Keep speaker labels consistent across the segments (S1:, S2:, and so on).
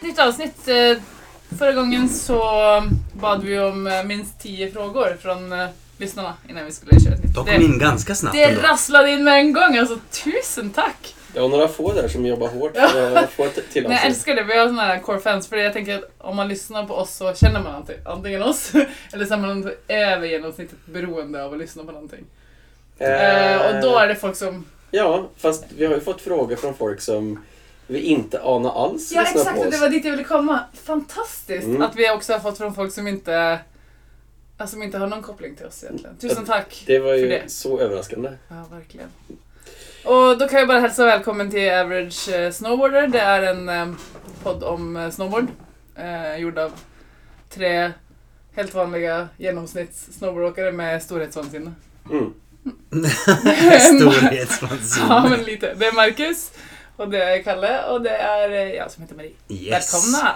S1: nytt avsnitt. Eh, Förra gången så bad vi om eh, minst 10 frågor från eh, lyssnarna innan vi skulle köra ett nytt.
S2: De kom
S1: Det,
S2: in ganska snabbt
S1: det
S2: ändå.
S1: rasslade in med en gång, alltså tusen tack!
S3: Det var några få där som jobbar hårt för att få ett till
S1: Men jag
S3: avsnitt.
S1: älskar det, vi har såna här core fans för jag tänker att om man lyssnar på oss så känner man anting- antingen oss eller så är man över genomsnittet beroende av att lyssna på någonting. Eh, och då är det folk som...
S3: Ja, fast vi har ju fått frågor från folk som vi inte anar alls
S1: Ja
S3: lyssnar
S1: exakt,
S3: på
S1: och
S3: oss.
S1: det var dit jag ville komma. Fantastiskt
S3: Mm.
S1: att vi också har fått från folk som inte, alltså, som inte har någon koppling till oss egentligen. Tusen tack!
S3: Det var ju
S1: för det.
S3: så överraskande.
S1: Ja, verkligen. Och då kan jag bara hälsa välkommen till Average eh, Snowboarder. Det är en eh, podd om eh, snowboard. Eh, gjord av tre helt vanliga genomsnitts snowboardåkare med storhetsvansinne.
S3: Mm.
S1: ja,
S2: Storhetsvansinne.
S1: men lite. Det är Marcus, och det är Kalle och det är eh, jag som heter Marie.
S2: Yes.
S1: Välkomna!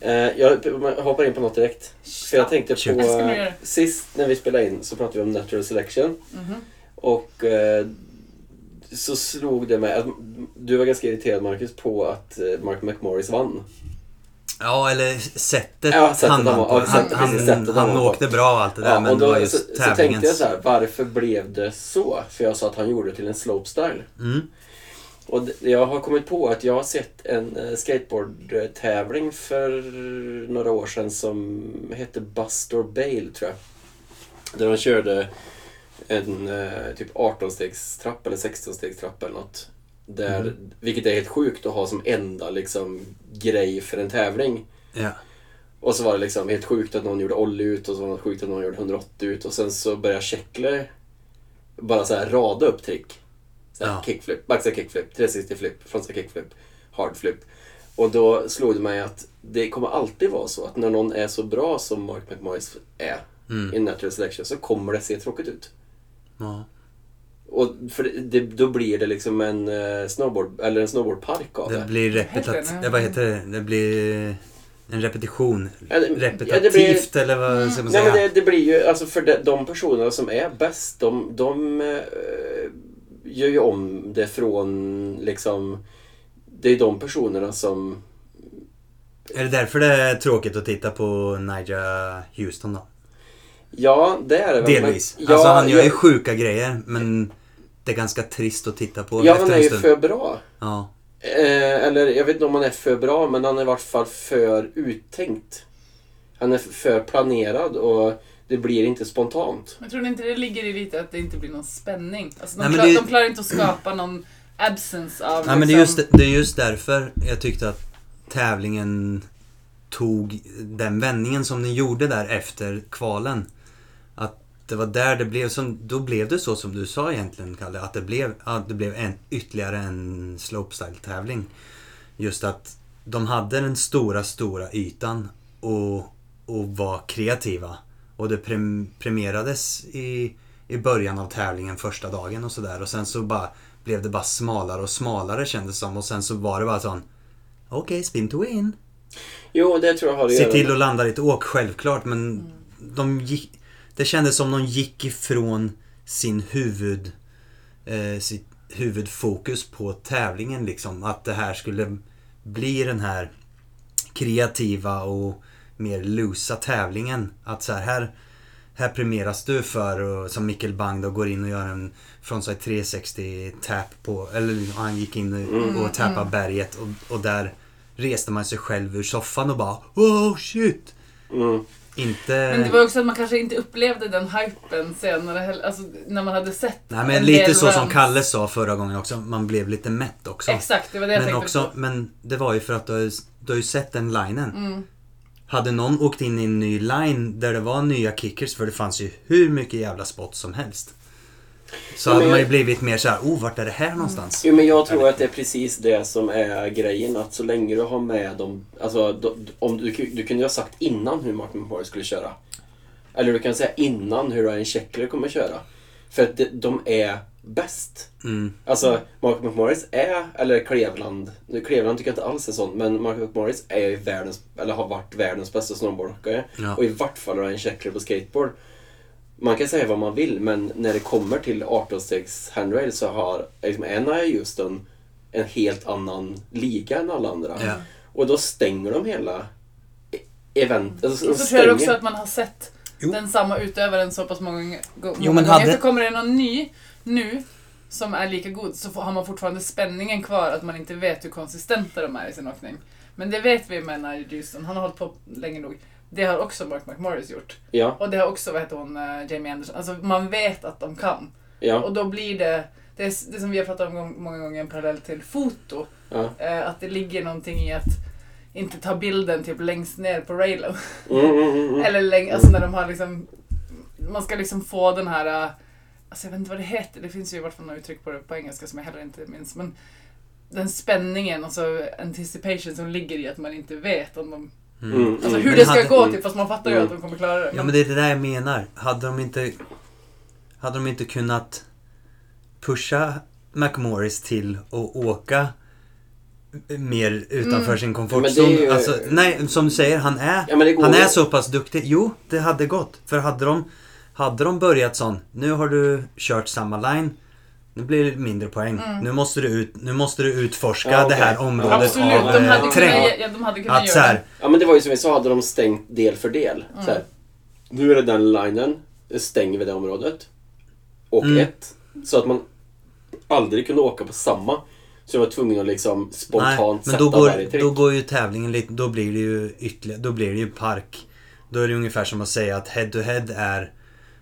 S3: Eh, Jag hoppar in på något direkt. För jag tänkte
S2: Shoot.
S3: på...
S1: Jag ska nog göra det.
S3: Sist när vi spelade in så pratade vi om natural selection.
S1: Mhm.
S3: Och eh, så slog det mig att du var ganska irriterad Marcus på att eh, Mark McMorris vann.
S2: Ja, eller sättet
S3: Ja, sättet
S2: han
S3: han
S2: vann
S3: var-
S2: på.
S3: ja, exakt,
S2: Han, han,
S3: precis, sättet
S2: han,
S3: han var på.
S2: åkte bra och allt det där, men
S3: och
S2: det var
S3: så,
S2: just
S3: så tänkte jag
S2: tävlingens...
S3: så här, varför blev det så? För jag sa att han gjorde det till en slopestyle.
S2: Mm.
S3: Och d- jag har kommit på att jag har sett en eh, skateboardtävling för några år sedan som hette Buster Bale, tror jag. Där de körde en eh, typ 18-stegstrappa eller 16-stegstrappa eller något. Där,
S2: Mm.
S3: Vilket är helt sjukt att ha som enda liksom, grej för en tävling.
S2: Ja.
S3: Och så var det liksom helt sjukt att någon gjorde ollie ut och så var det sjukt att någon gjorde 180 ut och sen så började Käckle bara så här rada upp trick. Så här
S2: Ja.
S3: Kickflip, backside kickflip, 360 flip, frontside kickflip, hardflip. Och då slog det mig att det kommer alltid vara så att när någon är så bra som Mark McMorris är
S2: Mm.
S3: i Natural Selection så kommer det se tråkigt ut.
S2: Ja.
S3: Och för det, det, då blir det liksom en eh, snowboard, eller en snowboardpark av det.
S2: Det blir repetitivt...
S1: Heter det?
S2: Ja, vad heter det? Det blir en repetition.
S3: Ja, det- ja, det blir-
S2: Repetitivt, eller vad ska man
S3: Nej,
S2: säga?
S3: men det, det blir ju, alltså för de, de personerna som är bäst, de, de eh, gör ju om det från liksom... Det är de personerna som...
S2: Är det därför det är tråkigt att titta på Nigel Houston då?
S3: Ja, det är det väl, men-
S2: Delvis.
S3: Ja,
S2: alltså han gör ju
S3: ja,
S2: sjuka grejer, men det är ganska trist att titta på
S3: Ja,
S2: efter
S3: han är
S2: en
S3: ju
S2: stund.
S3: för bra.
S2: Ja.
S3: Eh, eller jag vet inte om han är för bra, men han är i vart fall för uttänkt. Han är för planerad och det blir inte spontant.
S1: Men tror ni inte det ligger i lite att det inte blir någon spänning? Alltså, de,
S2: Nej, men
S1: klar,
S2: det-
S1: de klarar inte att skapa någon absence av...
S2: Nej, men det är,
S1: liksom-
S2: just, det är just därför jag tyckte att tävlingen tog den vändningen som ni gjorde där efter kvalen. Att det var där det blev som, då blev det så som du sa egentligen Kalle, att det blev, att det blev en, ytterligare en slopestyle-tävling. Just att de hade den stora, stora ytan och, och var kreativa. Och det prem, premierades i, i början av tävlingen första dagen och sådär. Och sen så bara blev det bara smalare och smalare kändes som. Och sen så var det bara sån... Okej, spin to win.
S3: Jo, det tror jag har att
S2: Se
S3: göra
S2: till
S3: med-
S2: att landa ditt åk, självklart. Men de gick... Det kändes som de gick ifrån sin huvud... Eh, sitt huvudfokus på tävlingen liksom. Att det här skulle bli den här kreativa och mer lusa tävlingen. Att så här, här, här premieras du för, och, som Mikkel Bang då går in och gör en frontside 360 tap på, eller han gick in
S1: Mm.
S2: och, och tappade berget och, och där reste man sig själv ur soffan och bara Oh shit!
S3: Mm.
S2: Inte...
S1: Men det var också att man kanske inte upplevde den hypen senare heller, alltså när man hade sett
S2: Nej men
S1: en
S2: lite
S1: del
S2: så som
S1: runs.
S2: Kalle sa förra gången också, man blev lite mätt också.
S1: Exakt, det var det jag
S2: Men
S1: tänkte
S2: också,
S1: på.
S2: men det var ju för att du har ju, du har ju sett den linen.
S1: Mm.
S2: Hade någon åkt in i en ny line där det var nya kickers, för det fanns ju hur mycket jävla spots som helst. Så
S3: Ja, men
S2: hade man ju
S3: jag-
S2: blivit mer såhär, oh vart är det här någonstans?
S3: Jo, men jag tror att det är precis det som är grejen. Att så länge du har med dem... Alltså, de- om du, du kunde ju ha sagt innan hur Martin McMorris skulle köra. Eller du kan säga innan hur Ryan Sheckler kommer köra. För att de, de är bäst.
S2: Mm.
S3: Alltså, Mark McMorris är, eller Cleveland, nu Cleveland tycker jag inte alls är sånt, men Mark McMorris är ju världens, eller har varit världens bästa snowboardåkare.
S2: Ja.
S3: Och i vart fall har han en checkler på skateboard. Man kan säga vad man vill, men när det kommer till 18-stegs handrail så har liksom, en Houston en helt annan liga än alla andra.
S2: Ja.
S3: Och då stänger de hela e-
S2: Mm.
S3: event. Alltså, de
S1: Så tror jag också
S3: stänger.
S1: att man har sett
S2: Jo.
S1: den samma utövaren så pass många, gång- många
S2: Jo, men
S1: gånger.
S2: hade-
S1: Så kommer det någon ny nu som är lika god så får- har man fortfarande spänningen kvar att man inte vet hur konsistenta de är i sin åkning. Men det vet vi med Nigel Houston, han har hållit på länge nog. Det har också Mark McMorris gjort.
S3: Ja,
S1: Och det har också, vad heter hon, eh, Jamie Anderson. Alltså man vet att de kan.
S3: ja,
S1: Och då blir det, det, är s- det som vi har pratat om gång- många gånger, en parallell till foto.
S3: ja.
S1: Eh, att det ligger någonting i att inte ta bilden typ längst ner på railen.
S3: Mm, mm, mm, mm.
S1: Eller läng- alltså när de har liksom, man ska liksom få den här, eh, alltså jag vet inte vad det heter, det finns ju i vart fall några uttryck på det på engelska som jag heller inte minns. Men den spänningen, alltså anticipation som ligger i att man inte vet om de,
S3: Mm, mm.
S1: alltså hur
S2: Men
S1: det ska
S2: hade-
S1: gå,
S3: mm.
S1: typ, fast man fattar ju
S3: Mm.
S1: att de kommer klara det.
S2: Ja men det är det där jag menar. Hade de inte... Hade de inte kunnat pusha McMorris till att åka mer utanför
S1: Mm.
S2: sin
S3: Men det
S2: komfortzon.
S3: är ju-
S2: Alltså, nej, som du säger, han är,
S3: Ja, men det går
S2: han är
S3: ju.
S2: så pass duktig. Jo, det hade gått. För hade de, hade de börjat sån, nu har du kört samma line, nu blir det mindre poäng. Nu, måste du ut, nu måste du utforska
S3: Mm. Ja, okej.
S2: det här området
S1: Absolut,
S2: av
S1: de
S2: eh,
S1: hade
S2: terräng.
S1: kunnat, ja, de hade kunnat
S2: Att
S1: göra
S2: så här,
S1: det.
S3: Ja men det var ju som vi sa, hade de stängt del för del. Så här,
S1: Mm.
S3: nu är det den linen, stänger vi det området. Och
S2: Mm.
S3: ett. Så att man aldrig kunde åka på samma. Så jag var tvungen att liksom spontant
S2: men
S3: sätta
S2: då går,
S3: varje trick.
S2: då går ju tävlingen lite, då blir det ju ytterligare, då blir det ju park. Då är det ungefär som att säga att head to head är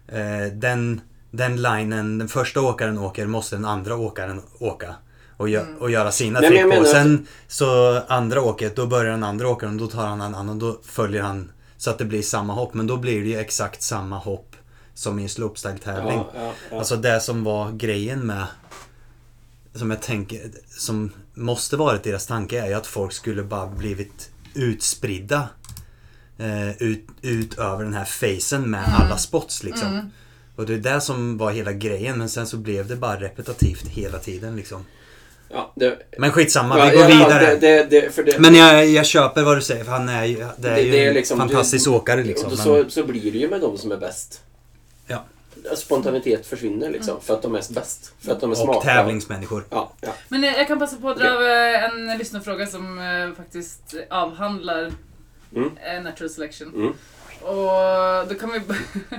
S2: eh, den, den linen, den första åkaren åker måste den andra åkaren åka. Och, gö- och göra sina
S3: Nej, men jag
S2: trick på. Och
S3: menar att-
S2: sen så andra åket, då börjar den andra åkaren, då tar han en annan, då följer han så att det blir samma hopp. Men då blir det ju exakt samma hopp som i en slopestyle-tävling.
S3: ja, ja, ja.
S2: Alltså det som var grejen med som jag tänker, som måste varit deras tanke är ju att folk skulle bara blivit utspridda eh, ut, ut över den här facen med alla spots liksom. Och det är det som var hela grejen men sen så blev det bara repetitivt hela tiden liksom.
S3: ja, det,
S2: Men skitsamma,
S3: ja,
S2: vi går
S3: ja,
S2: vidare.
S3: Det, det, det, för det,
S2: men jag, jag köper vad du säger för han är ju, det är
S3: Det-
S2: ju
S3: det är
S2: en
S3: liksom-
S2: fantastisk
S3: det-
S2: åkare liksom.
S3: och
S2: Men,
S3: så, så blir det ju med de som är bäst.
S2: ja.
S3: Spontanitet försvinner liksom, för att de är bäst. För att de är smarta.
S2: Och tävlingsmänniskor.
S3: Ja, ja.
S1: Men jag, jag kan passa på att dra eh, en lyssnarfråga som eh, faktiskt avhandlar
S3: Mm.
S1: eh, natural selection.
S3: Mm.
S1: Och då kan vi... b-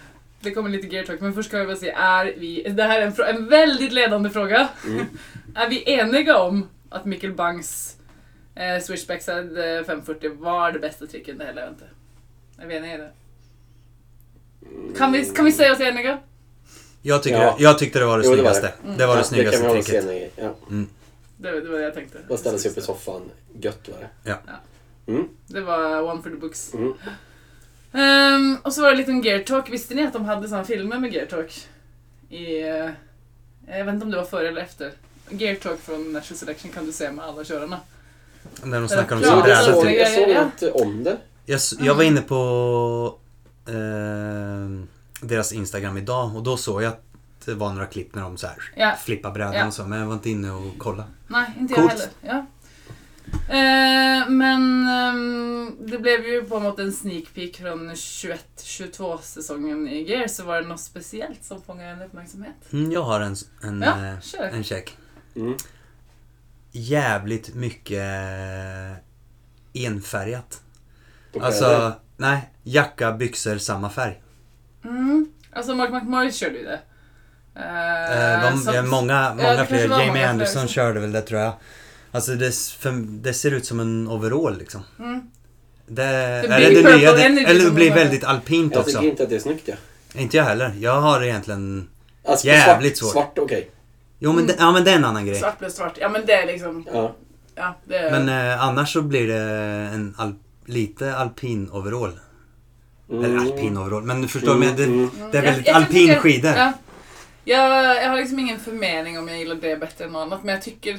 S1: det kommer lite gear talk, men först ska vi bara säga, är vi... Det här är en, frå- en väldigt ledande fråga.
S3: Mm.
S1: är vi eniga om att Mikkel Bangs eh, switchbackside eh, 540 var det bästa tricket under hela eventet? Är vi eniga i det?
S3: Mm.
S1: Kan vi, kan vi säga oss eniga?
S2: Jag, tycker,
S3: Ja.
S2: det- jag tyckte det var det
S3: Jo, det var det.
S2: snyggaste. Det var det, snyggaste
S3: det kan vi
S2: tricket.
S3: hålla oss eniga i, Ja.
S1: Det, var- det var det jag tänkte.
S3: Man ställer sig upp i soffan. Gött var det.
S2: Ja.
S3: Mm.
S1: Det var one for the books.
S3: Mm.
S1: Ehm, och så var det lite om Gear Talk. Visste ni att de hade såna filmer med Gear Talk? I, eh, jag vet inte om det var före eller efter. Gear Talk från National Selection kan du se med alla körarna.
S2: När de
S1: Eller
S2: snackar om
S1: Ja,
S3: Ja,
S2: sin
S1: det
S3: jag,
S1: är
S2: bräda.
S1: så.
S3: såg,
S2: typ.
S3: jag såg
S1: Ja. Mm.
S3: inte om det.
S2: Jag, s- jag var inne på ehm, deras Instagram idag och då såg jag att det var några klipp när de så här
S1: Ja.
S2: flippar brädan
S1: Ja.
S2: och så, men jag var inte inne och kollade.
S1: Nej, inte jag
S2: Coolt.
S1: heller. Ja. Eh, men ehm, det blev ju på något en sneak peek från 21-22 säsongen i Gear så var det något speciellt som fångade en uppmärksamhet.
S2: Mm, jag har en, s- en,
S1: Ja,
S2: eh,
S1: kör.
S2: en check.
S3: Mm.
S2: Jävligt mycket eh, enfärgat.
S3: På
S2: Alltså,
S3: kläder.
S2: nej, jacka, byxor, samma färg.
S1: Mm. Alltså Mark McMorris körde ju det. Eh,
S2: Eh, de,
S1: så-
S2: ja, många
S1: det
S2: många
S1: kanske var
S2: fler.
S1: många
S2: Jamie
S1: fler,
S2: Anderson
S1: liksom.
S2: körde väl det tror jag. Alltså det, s- för, det ser ut som en overall liksom.
S1: Mm.
S2: Det,
S1: blir
S2: eller det
S1: Purple
S2: nya, det,
S1: Energy
S2: eller det
S1: som
S2: blir
S1: de har.
S2: väldigt alpint
S3: Jag
S2: också.
S3: tycker inte att det är snyggt. Ja.
S2: Inte jag heller. Jag har egentligen...
S3: Alltså,
S2: Jävligt
S3: svart,
S2: svårt.
S3: Svart, okej.
S2: Jo
S1: Mm.
S2: men, det, ja, men det är en annan grej.
S1: Svart blev svart. Ja men det är liksom,
S3: Ja.
S1: ja det är...
S2: Men eh, annars så blir det en al, lite alpin overall.
S3: Mm.
S2: Eller alpin overall. Men du förstår, men det,
S3: Mm.
S2: det är väldigt
S1: Jag- jag
S2: alpin
S1: tycker-
S2: skidor.
S1: Ja. Jag, jag har liksom ingen förmening om jag gillar det bättre än något annat, men jag tycker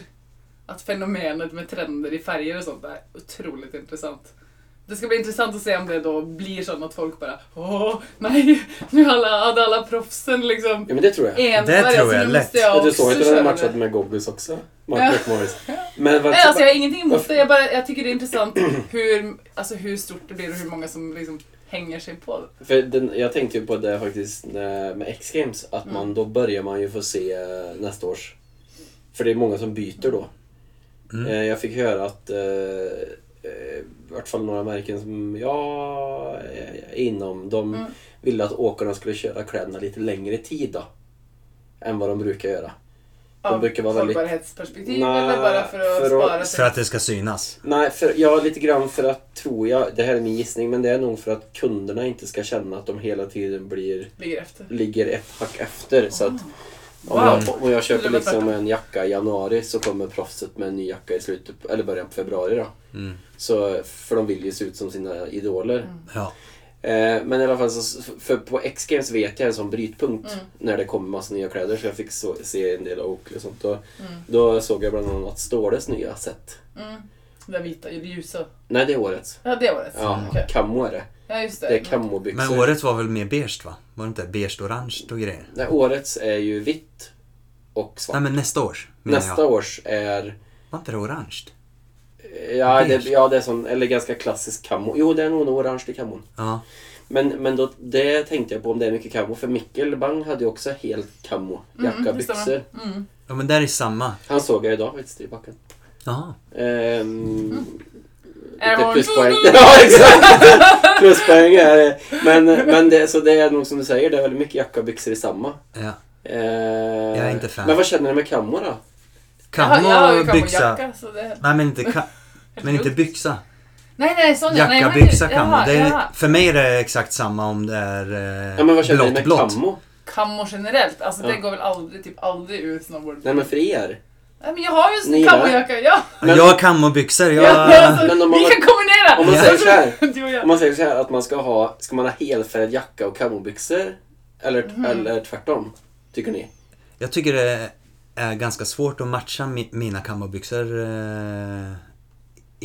S1: att fenomenet med trender i färger och sånt är otroligt intressant. Det ska bli intressant att se om det då blir så att folk bara Åh, nej, nu alla, hade alla proffsen liksom
S3: ja, men det tror jag.
S1: enfärgat
S2: Det tror
S1: så nu
S2: jag
S1: måste
S2: lätt.
S1: jag
S3: Men du
S1: också
S3: såg inte
S1: köra
S3: den
S1: det."
S3: matchen med Goggles också? Mark
S1: Ja.
S3: McMorris. Men vad,
S1: Nej, alltså jag har ingenting emot det, jag, bara, jag tycker det är intressant hur, alltså, hur stort det blir och hur många som liksom hänger sig på det.
S3: för den, jag tänkte ju på det faktiskt när- med X-Games, att eh, man, då börjar man ju få se nästa års. För det är många som byter då.
S2: Mm.
S3: Eh, Jag fick höra att eh, eh, i vart fall några märken som jag är inom, de
S1: Mm.
S3: ville att åkarna skulle köra kläderna lite längre tid då. Än vad de brukar göra.
S1: Av
S3: brukar vara väldigt-
S1: hållbarhetsperspektiv
S3: Nej,
S1: eller bara för att
S3: för att-
S1: spara
S2: För
S1: sig?
S2: att det ska synas.
S3: Nej, för, ja, lite grann för att, tror jag, det här är min gissning, men det är nog för att kunderna inte ska känna att de hela tiden blir,
S1: Ligger efter.
S3: ligger ett hack efter. Så att om,
S1: Wow.
S3: jag, om jag köper
S1: Det var
S3: liksom
S1: tvärtom.
S3: en jacka i januari så kommer proffset med en ny jacka i slutet, på- eller början på februari då.
S2: Mm.
S3: Så, för de vill ju se ut som sina idoler.
S1: Mm.
S2: Ja.
S3: Eh, men i alla fall, så, för på X-Games vet jag en sån brytpunkt
S1: Mm.
S3: när det kommer massa nya kläder så jag fick så, se en del av Oakley och sånt. Och,
S1: Mm.
S3: Då såg jag bland annat Ståles nya set.
S1: Mm. Den vita, det ljusa.
S3: Nej, det är årets.
S1: Ja, det var det.
S3: Ja,
S1: Okej.
S3: camo är det.
S1: ja just det.
S3: Det är
S1: Mm.
S3: camobyxor.
S2: Men Mm, året var väl mer beige va? Var det inte? Beige, orange och grejer?
S3: Nej, årets är ju vitt och svart.
S2: Nej men nästa års menar
S3: Nästa
S2: jag.
S3: års är...
S2: Var inte det orange?
S3: Ja, det,
S2: Beige.
S3: ja, det är sån, eller ganska klassisk camo. Jo, det är nog en orange i camon.
S2: Ja.
S3: Men, men då, det tänkte jag på om det är mycket camo. För Mikkel Bang hade ju också helt camo. Jacka,
S1: Mm, det
S3: byxor.
S1: stämmer. Mm.
S2: ja men där är samma.
S3: Han såg jag idag faktiskt i backen.
S2: Jaha.
S3: Ehm,
S1: Airborne.
S3: Lite pluspoäng. ja, exakt! pluspoäng är det. Men, men det, så det är nog som du säger, det är väldigt mycket jacka och byxor i samma.
S2: Ja.
S3: Eh,
S2: är inte fan.
S3: Men vad känner du med kammo då?
S1: Jaha, jag har ju
S2: Camo, byxa.
S1: kamojacka, så det...
S2: Nej men inte, ka- men inte byxa.
S1: Nej, nej, sån ja. Nej,
S2: Jacka,
S1: men-
S2: byxa, camo.
S1: jaha,
S2: Det är,
S1: jaha.
S2: för mig är det exakt samma om det är
S3: Ja, men vad
S2: eh,
S3: känner ni
S2: blått,
S3: med
S2: blått.
S3: kammo?
S1: Kammo generellt, alltså det
S3: Ja.
S1: går väl aldrig, typ aldrig ut snowboard.
S3: Nej, men för er.
S1: Nej, men jag har ju en
S3: Ni
S1: sån
S3: gillar
S1: kammojacka. Ja.
S3: Men-
S2: Jag har kamobyxor. Jag...
S1: Ja, alltså,
S3: Men om man-
S1: vi kan kombinera!
S3: Om man säger så här.
S1: Du och
S3: Om
S1: jag.
S3: man säger så här att man ska ha, ska man ha helfärgad jacka och kamobyxor? Eller,
S1: Mhm.
S3: eller tvärtom? Tycker ni?
S2: Jag tycker det är ganska svårt att matcha mi- mina kamobyxor eh, in,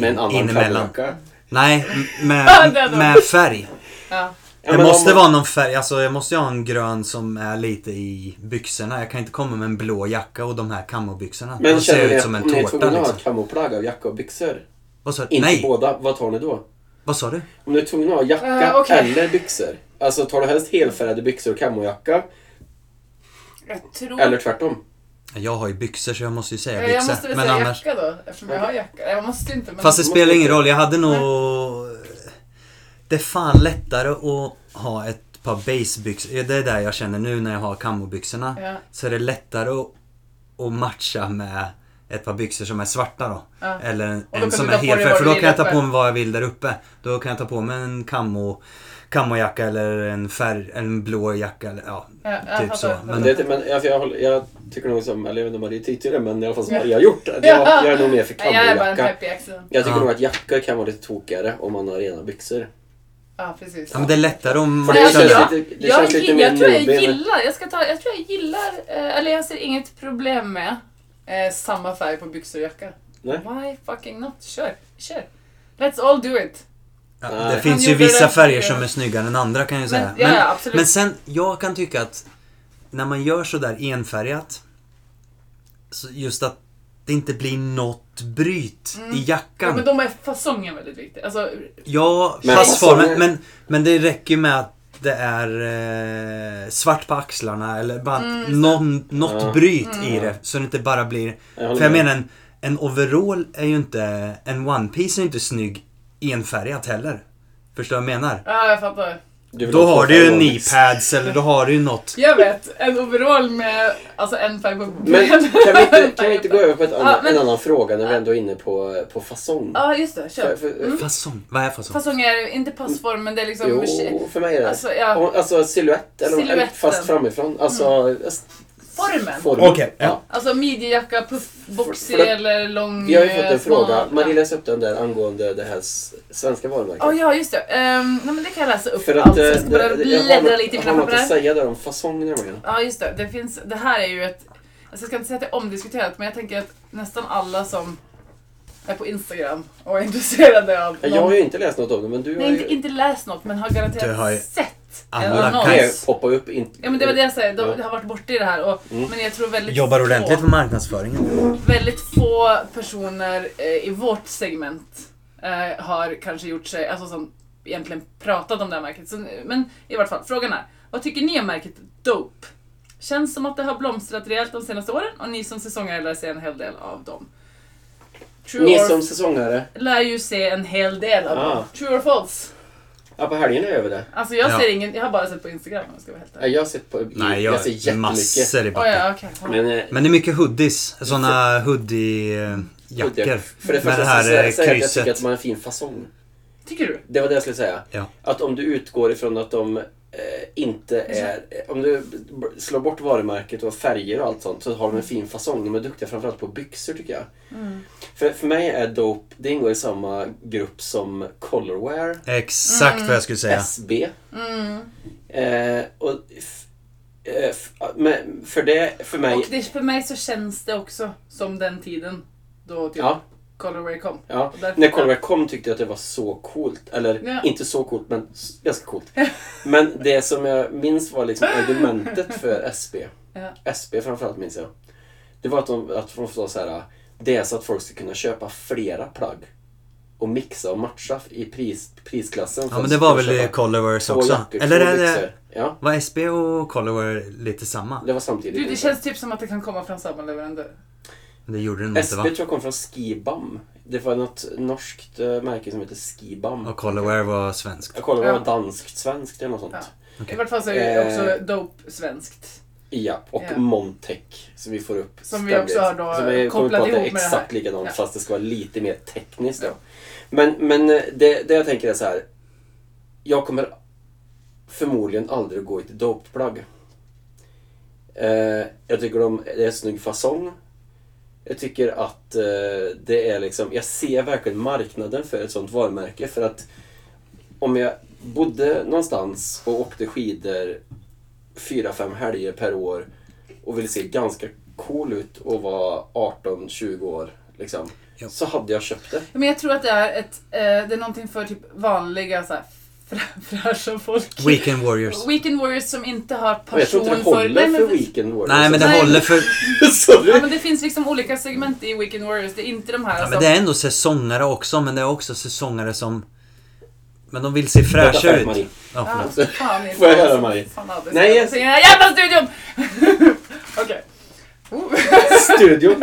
S3: Med en annan
S2: inemellan.
S3: kamojacka?
S2: Nej, m-
S1: Ja,
S2: med,
S1: det är de.
S2: med färg.
S1: Ja.
S3: Ja,
S2: det
S3: men om
S2: måste
S3: man-
S2: vara någon färg, alltså jag måste ju ha en grön som är lite i byxorna. Jag kan inte komma med en blå jacka och de här kamobyxorna.
S3: Men
S2: de ser
S3: känner
S2: ut
S3: ni
S2: som
S3: att
S2: en
S3: om ni är
S2: tårta
S3: tvungna att ha
S2: liksom.
S3: ett kamoplagg av jacka och byxor?
S2: Vad sa,
S3: Inte
S2: nej,
S3: båda, vad tar ni då?
S2: vad sa du?
S3: Om du är tvungen att ha jacka
S1: Eh, okej.
S3: eller byxor? Alltså tar du helst helfärgade byxor och kamojacka?
S1: Mm. Jag tror...
S3: Eller tvärtom?
S2: Jag har ju byxor så jag måste ju säga
S1: Ja,
S2: byxor.
S1: jag måste väl
S2: men
S1: säga
S2: annars...
S1: jacka då, eftersom jag har jacka. Nej, Jag måste ju inte, men...
S2: Fast det
S3: måste
S2: spelar ingen
S3: inte.
S2: roll, jag hade nog... Det är fan lättare att ha ett par basebyxor. Det är där jag känner nu när jag har kamobyxorna.
S1: Ja.
S2: Så är det lättare att, att matcha med ett par byxor som är svarta då.
S1: Ja.
S2: Eller en,
S1: då
S2: en
S1: kan
S2: som
S1: du
S2: är
S1: ta på dig
S2: helfärgad.
S1: vad
S2: För
S1: du
S2: då
S1: vill
S2: kan jag ta
S1: uppe.
S2: på mig vad jag vill där uppe. Då kan jag ta på mig en camo, camojacka eller en färg, en blå jacka. Eller, ja,
S1: Ja, jag
S2: typ
S1: fattar,
S2: så.
S1: jag fattar.
S2: Men,
S3: Det, men jag, jag, håller- jag tycker nog som, eller jag vet inte om Marie tyckte det, men i alla fall som Marie har gjort det. Jag,
S1: Ja.
S3: jag är nog mer för
S1: Nej, jag är bara en
S3: kamojacka.
S1: happy accident.
S3: Jag tycker
S2: Ja.
S3: nog att jackor kan vara lite tokigare om man har rena byxor.
S1: Ja, precis.
S2: ja, men det är lättare att
S3: För
S2: matcha
S3: det
S1: Nej, alltså,
S2: med.
S3: känns
S1: jag-
S3: lite, det
S1: jag,
S3: känns lite
S1: gill-
S3: mer
S1: jag tror jag
S3: nobig, men-
S1: gillar, jag, ska ta, jag tror jag gillar, eh, eller jag ser inget problem med eh, samma färg på byxor och jacka.
S3: Nej.
S1: Why fucking not? Kör, kör. Let's all do it.
S2: Ja,
S3: Nej.
S2: det finns
S1: Han
S2: ju
S1: gjorde
S2: vissa
S1: det.
S2: färger som är snyggare än andra kan jag ju
S1: Men,
S2: säga.
S1: ja, ja, absolut.
S2: men sen, jag kan tycka att när man gör sådär enfärgat, så just att det inte blir något bryt i
S1: Mm. ja,
S2: jackan.
S1: men de är fasongen väldigt viktig. Alltså,
S2: Ja,
S3: Men-
S2: fast formen,
S3: Alltså-
S2: men, men det räcker ju med att det är eh, svart på axlarna eller bara
S1: Mm,
S2: att någon, något
S3: Ja.
S2: bryt i det. Så det inte bara blir...
S3: håller
S2: för jag
S3: med.
S2: menar, en, en overall är ju inte... En one piece är ju inte snygg enfärgat heller. Förstår du vad jag menar?
S1: ja, jag fattar.
S3: Du vill
S2: Då
S3: ha
S2: har
S3: två
S2: du ju
S3: färger.
S2: knee pads eller då har du ju något.
S1: Jag vet, en overall med alltså, en färg på
S3: Men kan vi inte, kan vi inte gå över på ett annan,
S1: men-
S3: en annan fråga när vi ändå är inne på, på fasong?
S1: Ja, just det.
S3: För,
S1: Kör. Mm.
S3: för,
S2: Fasong. Vad är fasong?
S1: Fasong är inte passform, men det är liksom...
S3: Jo, för mig är det
S1: Alltså, ja.
S3: Om- alltså silhuett, eller eller
S1: Silhuetten.
S3: fast framifrån. Alltså, s-
S1: Mm. Formen.
S3: form.
S2: Okej, ja.
S1: Alltså midjejacka, puff, boxy
S3: För- för det-
S1: eller lång...
S3: Vi har ju fått en
S1: eh,
S3: fråga.
S1: smal.
S3: Marie läste upp den där angående det här s- svenska varumärket.
S1: Ja, ja just det. Ehm, nej, men det kan jag läsa upp
S3: För att,
S1: allt. så
S3: eh,
S1: jag ska bara
S3: det- det- jag har
S1: bläddra
S3: något-
S1: lite i
S3: jag
S1: mina
S3: har något
S1: papper. här.
S3: att säga där om fasong nämligen.
S1: Ja, just det. Det, finns, det här är ju ett... Alltså jag ska inte säga att det är omdiskuterat, men jag tänker att nästan alla som är på Instagram och är intresserade av någon...
S3: Jag har ju inte läst något om det, men du har
S1: Nej,
S3: ju...
S1: inte, inte läst något, men har
S2: Du
S1: garanterat
S2: har ju-
S1: sett en
S2: Alla
S1: annons.
S2: kan-
S3: Det poppar ju upp. In...
S1: Ja, men det var det jag säger. De
S3: Ja. Mm.
S1: har varit borta i det här. Och, Men jag tror väldigt
S2: Jobbar
S1: få-
S2: ordentligt med marknadsföringen.
S1: väldigt få personer eh, i vårt segment eh, har kanske gjort sig, alltså som egentligen pratat om det här märket. Så, men i vart fall, frågan är, vad tycker ni om märket Dope? Känns som att det har blomstrat rejält de senaste åren och ni som säsongare lär sig en hel del av dem. True
S3: Ni
S1: or
S3: som säsongare?
S1: lär ju se en hel del av
S3: Ah.
S1: dem. True or false?
S3: Ja, på helgen är jag över det.
S1: Alltså jag
S2: Ja.
S1: ser ingen, jag har bara sett på Instagram om jag ska vara helt
S3: Ja,
S1: ärlig.
S3: Jag har sett på...
S2: Nej,
S3: jag,
S2: jag,
S3: ser jättemycket.
S2: massor i
S1: Oh,
S2: backen.
S1: ja, okej.
S3: Men, eh,
S2: Men det är mycket hoodies. Såna hoodie-jackor.
S3: För det
S2: Med
S3: första
S2: det
S3: här så
S2: här eh,
S3: säger jag att jag tycker
S2: krysset.
S3: att de har en fin fasong.
S1: Tycker du?
S3: Det var det jag skulle säga.
S2: Ja.
S3: Att om du utgår ifrån att de eh, inte är... eh, Om du b- slår bort varumärket och färger och allt sånt så har de en fin fasong. De är duktiga framförallt på byxor tycker jag. För, för mig är Dope, det ingår i samma grupp som Colorwear,
S2: Exakt vad jag skulle säga.
S3: SB. Eh, och f, eh, f, men för det, för mig...
S1: Och det, för mig så känns det också som den tiden då typ
S3: Ja,
S1: Colorway kom.
S3: ja.
S1: Och därför-
S3: När Colorwear kom tyckte jag att det var så coolt. Eller
S1: Ja.
S3: inte så coolt, men s- ganska coolt. Men det som jag minns var liksom argumentet för SB.
S1: Ja.
S3: SB framförallt minns jag. Det var att de, att de sa så här. Det är så att folk ska kunna köpa flera plagg. Och mixa och matcha i pris, prisklassen.
S2: Ja, men det var väl i Colorwares
S3: också?
S2: också?
S3: Jackor,
S2: Eller
S3: två
S2: är det...
S3: byxor. Ja,
S2: Var SB och Colorware lite samma?
S3: det var samtidigt.
S1: Du, det
S3: ungefär.
S1: känns typ som att det kan komma från samma leverantör.
S2: Mm, Det gjorde den nog inte
S3: SB
S2: va?
S3: tror jag kom från Skibam. Det var något norskt eh, märke som heter Skibam.
S2: Och Colorware var svenskt.
S3: Jag kollade om det
S1: Ja.
S3: var danskt, svenskt eller något sånt.
S1: Ja.
S3: Ja,
S1: I vart fall så är det
S3: Eh.
S1: också dope svenskt.
S3: och
S1: Ja.
S3: Montec som vi får upp
S1: Som vi också har då
S3: Som vi kommer
S1: kopplat
S3: på att det är
S1: ihop med det här.
S3: exakt likadant
S1: Ja.
S3: fast det ska vara lite mer tekniskt. Då.
S1: Ja.
S3: Men, men eh, det, det jag tänker är så här. Jag kommer förmodligen aldrig gå i ett dopeplagg. Eh, jag tycker de, det är en snygg fasong. Jag tycker att eh, det är liksom, jag ser verkligen marknaden för ett sånt varumärke för att om jag bodde någonstans och åkte skidor fyra, fem helger per år och ville se ganska cool ut och vara 18-20 år liksom,
S2: Ja.
S3: så hade jag köpt det.
S1: Men jag tror att det är, ett, eh, det är någonting för typ vanliga så här, frä, fräscha folk.
S2: Weekend Warriors.
S1: Weekend Warriors som inte har passion
S3: Och jag tror inte det
S1: för...
S3: håller
S1: Nej, men
S3: för
S1: det-
S3: Weekend liksom. Warriors.
S2: Nej, men det
S1: Nej.
S2: håller för...
S3: Sorry.
S1: Ja, men det finns liksom olika segment i Weekend Warriors. Det är inte de här
S2: Ja,
S1: som...
S2: men det är ändå säsongare också, men det är också säsongare som... Men de vill se fräscha
S3: Vänta,
S2: ut.
S3: Marie.
S2: Ja,
S1: Ah,
S2: förlåt.
S1: fan, inte
S3: Alltså, Får jag höra,
S1: alls.
S3: Marie?
S1: Fan, Abbe,
S3: Nej,
S1: Nej,
S3: jag-
S1: jag säger den här jävla studion! Okej.
S3: Studion.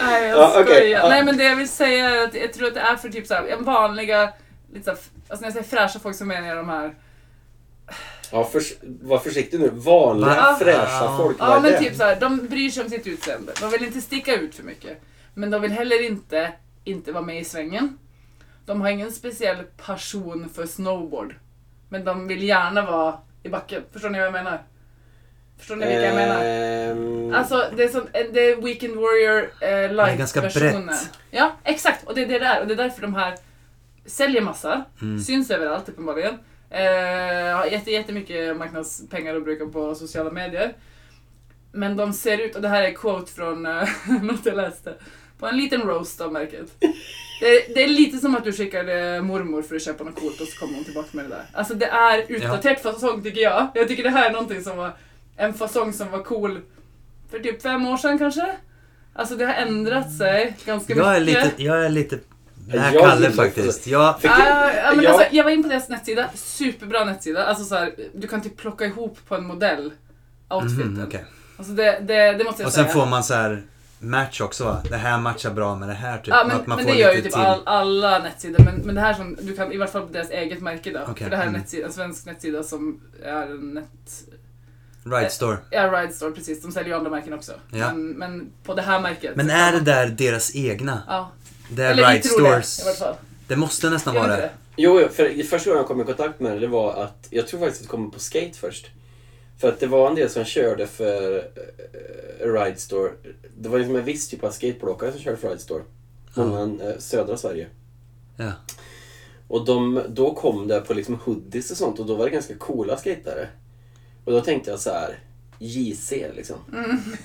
S1: Nej, jag
S3: Ja,
S1: skojar.
S3: okej, ja.
S1: Nej, men det jag vill säga är att jag tror att det är för typ såhär vanliga, lite så här, alltså när jag säger fräscha folk så menar jag de här
S3: Ja, förs- var försiktig nu. Vanliga
S1: Va?
S3: fräscha folk. vad
S1: Ja
S3: är det?
S1: men typ såhär, de bryr sig om sitt utseende. De vill inte sticka ut för mycket. Men de vill heller inte, inte vara med i svängen. De har ingen speciell passion för snowboard. Men de vill gärna vara i backen. Förstår ni vad jag menar? Förstår ni vilka jag menar?
S3: Ehm,
S1: Alltså det är, som, det är Weekend Warrior eh,
S2: ganska
S1: light-versionen.
S2: brett.
S1: Ja, exakt. Och det är det där. Och det är därför de här säljer massa.
S2: Mm.
S1: Syns överallt uppenbarligen. Eh, har jätte, jättemycket marknadspengar att bruka på sociala medier. Men de ser ut, och det här är quote från eh, något jag läste, på en liten roast av märket. Det, det är lite som att du skickade mormor för att köpa något coolt och så kommer hon tillbaka med det där. Alltså det är utdaterat fasong tycker jag. Jag tycker det här är någonting som var en fasong som var cool för typ fem år sedan kanske. Alltså det har ändrat sig ganska
S2: Jag är
S1: mycket.
S2: lite... Jag är lite... Det här
S3: Jag
S2: Kalle
S3: gillar
S2: faktiskt. Jag...
S3: Fick-
S1: Ah, ja, men
S3: Ja.
S1: alltså, jag var inne på deras nettsida, superbra nettsida. Alltså, så här, du kan typ plocka ihop på en modell outfiten.
S2: Mhm, okej.
S1: alltså, det, det, det måste jag
S2: Och
S1: säga.
S2: sen får man så här match också va? Det här matchar bra med det här typ.
S1: ja, men,
S2: Att man
S1: men
S2: får
S1: det gör ju
S2: lite
S1: typ
S2: till.
S1: all, alla nettsidor. Men, men det här som du kan, i vart fall på deras eget märke då.
S2: Okej,
S1: För det här är en,
S2: mm.
S1: nettsida, en svensk nettsida som är en net,
S2: Ride store.
S1: ja, Ridestore precis. De säljer ju andra märken också.
S2: Ja.
S1: Men, men på det här märket.
S2: Men
S1: så
S2: är
S1: kan
S2: det
S1: man-
S2: där deras egna?
S1: Ja.
S2: Det är
S1: Eller vi
S2: Ride
S1: tror det i
S2: Stores.
S1: vart fall.
S2: Det måste nästan
S1: Gör
S2: vara
S1: inte
S2: det.
S3: Jo, jo, för första gången jag kom i kontakt med det, det var att jag tror faktiskt att det kom på skate först. För att det var en del som körde för eh, Ride Store. Det var liksom en viss typ av skateboardåkare som körde för Ride Store. Många eh, södra Sverige.
S2: Ja.
S3: Och de, då kom det på liksom hoodies och sånt och då var det ganska coola skatare. Och då tänkte jag så här, JC liksom. Eh,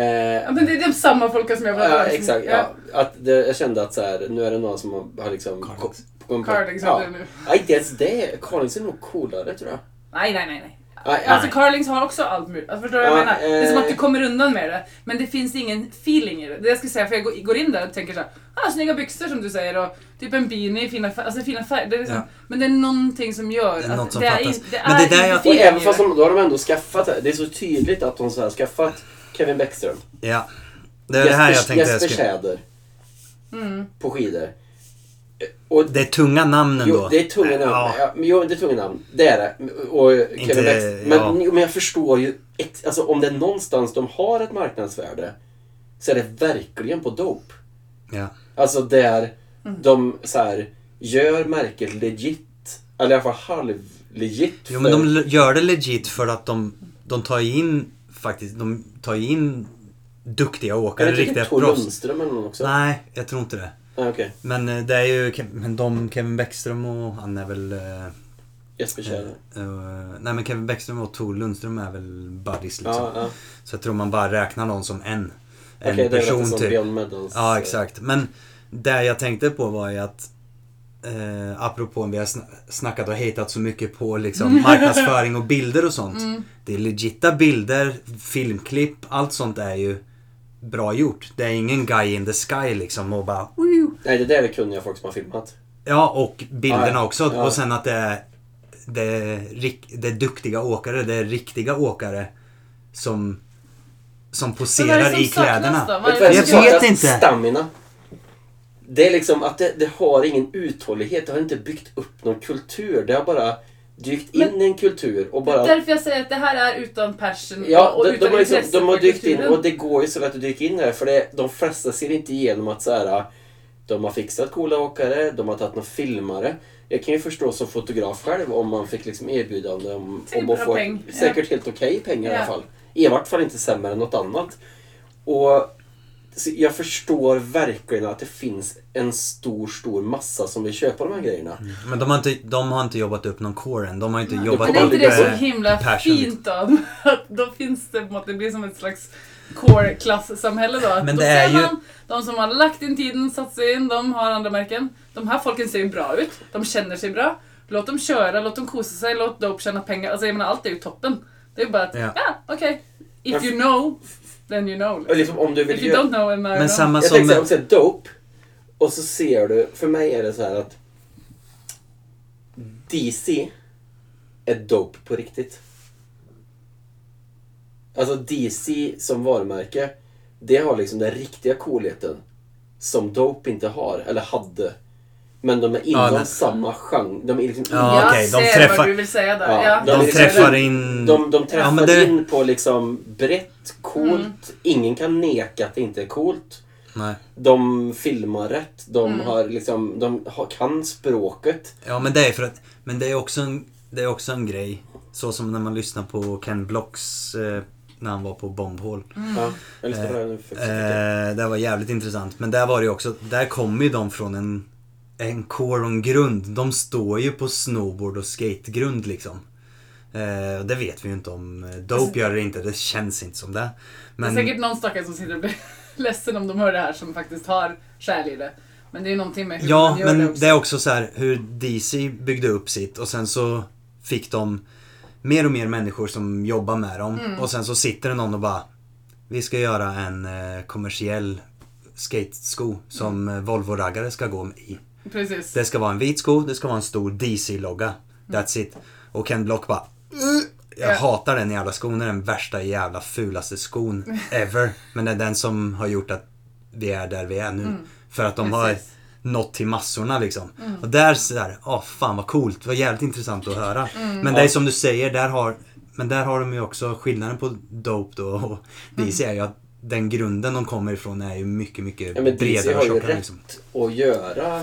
S1: Mm. Ja, men det är de samma folk som jag liksom. pratade
S3: Ja,
S1: om.
S3: exakt. Ja. Att det, jag kände att så här, nu är det någon som har, har liksom...
S2: Carlings.
S3: ko- kommit på-
S1: Carlings
S3: ja.
S1: hade det nu.
S3: Nej, inte ens det. Carlings är nog coolare tror jag.
S1: Nej, nej, nej. nej.
S3: Nej,
S1: Alltså
S3: nej.
S1: Carlings har också allt möjligt. Alltså, förstår du vad jag
S3: Ja,
S1: menar? Det är som
S3: eh.
S1: att du kommer undan med det. Men det finns ingen feeling i det. Det jag skulle säga, för jag går- går in där och tänker såhär, ah, snygga byxor som du säger och typ en beanie, fina färger. Alltså fina färger. Det är liksom,
S2: Ja.
S1: Men det är någonting som gör
S2: Det är något som
S1: det
S2: fattas.
S1: in- det är
S2: Men det är där
S1: inte
S2: jag-
S3: och
S1: feeling
S3: även
S1: i
S3: fast
S1: det.
S3: de, då har de ändå skaffat det. Det är så tydligt att de så här skaffat Kevin Bäckström.
S2: ja. Det är det här jag tänkte jag
S3: Jesper
S2: skulle...
S3: Tjäder.
S1: Mm.
S3: på skidor. Eh, Och
S2: Det är tunga namn ändå.
S3: Jo, det är tunga namn.
S2: Ja.
S3: Ja. men jo, det är tunga namn. Det är det. Och
S2: Inte-
S3: Kevin Bex. Men,
S2: ja.
S3: jo, men jag förstår ju. ex- Alltså, om det är någonstans de har ett marknadsvärde så är det verkligen på Dope.
S2: Ja.
S3: Alltså där de så här, gör märket legit. Eller i alla fall halv-legit.
S2: Jo, men de le- gör det legit för att de, de tar ju in faktiskt, de tar ju in duktiga åkare,
S3: Eller tycker
S2: riktiga
S3: Tor
S2: proffs.
S3: Lundström eller någon också?
S2: Nej, jag tror inte det.
S3: Nej, okej.
S2: Men eh, det är ju Ke- men de, Kevin Bäckström och han är väl... eh,
S3: Jesper Tjärner.
S2: eh, nej men Kevin Bäckström och Tor Lundström är väl buddies liksom.
S3: Ja, ja.
S2: Så jag tror man bara räknar någon som en. En
S3: Okej, det är väl
S2: person
S3: lite som
S2: typ.
S3: Beyond Medals.
S2: Ja, exakt. Men det jag tänkte på var ju att eh, apropå vi har sn- snackat och hatat så mycket på liksom, marknadsföring och bilder och sånt.
S1: Mm.
S2: Det är legitta bilder, filmklipp, allt sånt är ju bra gjort. Det är ingen guy in the sky liksom och bara "Woo!"
S3: Nej, det där är kunniga folk som har filmat.
S2: Ja, och bilderna
S3: Ja,
S2: också.
S3: ja.
S2: Och sen att det är, det, är rik, det är duktiga åkare, det är riktiga åkare som, som
S1: Men vad är det
S2: poserar
S1: som
S2: i
S1: saknas
S2: kläderna.
S1: då? Vad är
S3: Vet du vad
S1: det
S2: Jag
S1: som
S3: som
S2: vet
S1: saknas?
S3: saknas?
S2: inte.
S3: Stamina. Det är liksom att det, det har ingen uthållighet. Det har inte byggt upp någon kultur. Det har bara dykt in
S1: Men-
S3: i en kultur och bara...
S1: Det är därför jag säger att det här är utan passion
S3: Ja,
S1: och
S3: de, de,
S1: utan
S3: har liksom,
S1: intresse
S3: de har
S1: för
S3: dykt in
S1: kulturen.
S3: och det går ju så lätt att dyka in där för det, de flesta ser inte igenom att så här, de har fixat coola åkare, de har tagit någon filmare. Jag kan ju förstå som fotograf själv om man fick liksom erbjudande om,
S1: Till
S3: om att
S1: bra
S3: få
S1: peng, ja.
S3: säkert helt okej pengar i alla
S1: Ja.
S3: fall. I vart fall inte sämre än något annat. Och så jag förstår verkligen att det finns en stor, stor massa som vill köpa de här grejerna.
S2: Men de har, inte, de har inte jobbat upp någon core än. De har inte jobbat
S3: kommer
S1: Men är inte det
S2: upp,
S1: så
S2: eh,
S1: himla
S2: passion. liksom.
S1: fint då? Att då finns det på en måte- det blir som ett slags core-klassamhälle då. Att
S2: Men
S1: då
S2: det är
S1: ser
S2: ju-
S1: man de som har lagt in tiden, satt sig in, de har andra märken. De här folken ser ju bra ut, de känner sig bra. Låt dem köra, låt dem kosa sig, låt Dope tjäna pengar. Alltså jag menar allt är ju toppen. Det är ju bara att,
S2: Ja.
S1: ja, okej. If you know, then you know.
S3: Och
S1: Liksom.
S3: liksom, om du vill
S1: If you
S3: göra-
S1: don't know, then I know.
S2: Men samma
S3: Jag tänkte
S2: som...
S3: såhär, om du säger dope och så ser du, för mig är det så här att DC är dope på riktigt. Alltså DC som varumärke, det har liksom den riktiga coolheten som dope inte har, eller hade. Men de är inom
S2: Ja, men-
S3: samma genre. De är liksom
S2: Ja,
S1: jag
S2: okej, de
S1: ser
S2: träffar-
S1: vad du vill säga där.
S3: Ja,
S1: Ja,
S3: de
S2: De
S3: liksom-
S2: träffar in...
S3: de, de träffar
S2: Ja, men det-
S3: in på liksom brett, coolt. Ingen kan neka att det inte är coolt.
S2: Nej.
S3: De filmar rätt, de, har liksom, de har, kan språket.
S2: Ja, men det är för att... Men det är också en, det är också en grej. Så som när man lyssnar på Ken Blocks... Eh, när han var på Bombhål.
S1: Mm.
S3: Ja, jag lyssnar på det här nu för
S2: Eh, det var jävligt intressant. Men där var det ju också... Där kommer ju de från en... En core och en grund. De står ju på snowboard och skategrund liksom. Eh, och det vet vi ju inte om eh,
S1: Alltså-
S2: Dope gör det inte. Det känns inte som det. Men...
S1: Det är säkert någon stackare som sitter och blir ledsen om de hör det här som faktiskt har själ i det. Men det är ju någonting med hur
S2: Ja,
S1: man gör det
S2: men
S1: också.
S2: det är också så här hur DC byggde upp sitt och sen så fick de mer och mer människor som jobbar med dem
S1: Mm.
S2: och sen så sitter det någon och bara Vi ska göra en eh, kommersiell skatesko som
S1: Mm.
S2: eh, Volvo-raggare ska gå i.
S1: Precis.
S2: Det ska vara en vit sko, det ska vara en stor DC-logga. That's it. Och Ken Block bara "Ugh, jag
S1: Ja.
S2: hatar den jävla skon, det är den värsta jävla fulaste skon ever. Men det är den som har gjort att vi är där vi är nu. För att de har
S1: Mm. Precis. Mm.
S2: nått till massorna liksom. Och där sådär, åh fan vad coolt, det var jävligt intressant att höra.
S1: Mm.
S2: Men det är som du säger, där har, men där har de ju också skillnaden på Dope då
S1: Mm.
S2: och DC är ju att den grunden de kommer ifrån är ju mycket, mycket
S3: Ja, men DC
S2: bredare och
S3: har ju
S2: tjockare
S3: rätt
S2: liksom.
S3: att göra,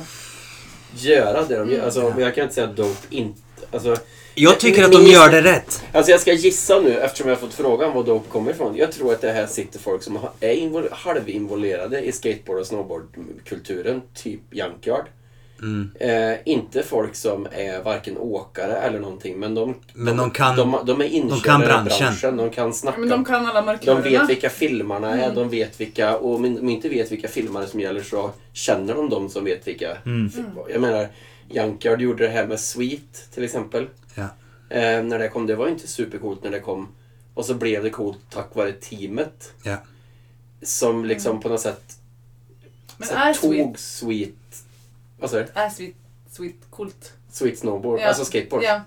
S3: göra det de gör. Alltså, men jag kan inte säga att dope inte... Alltså,
S2: Jag tycker att de
S3: Min-
S2: gör det rätt.
S3: Alltså jag ska gissa nu eftersom jag har fått frågan var Dope kommer ifrån. Jag tror att det här sitter folk som har- är invol- halvinvolverade i skateboard och snowboardkulturen, typ Junkyard.
S2: Mm.
S3: Eh, inte folk som är varken åkare eller någonting, men de,
S2: Men de kan-
S3: de, de är inkörda
S2: de kan
S3: i
S2: branschen.
S3: De kan snacka.
S1: Men de kan Mm. alla
S3: De
S1: markörerna.
S3: vet vilka filmarna är, de vet vilka, och om de inte vet vilka filmare som gäller så känner de de som vet vilka.
S2: Mm.
S3: Jag menar, Junkyard gjorde det här med Sweet till exempel.
S2: Ja.
S3: Eh, när det kom, det var ju inte supercoolt när det kom. Och så blev det coolt tack vare teamet
S2: Ja.
S3: som liksom på något sätt
S1: Mm. Men
S3: så
S1: är
S3: här,
S1: sweet,
S3: tog sweet, vad sa du?
S1: är sweet, sweet coolt?
S3: Sweet snowboard,
S1: Ja.
S3: alltså skateboard.
S1: Ja.
S3: Eh,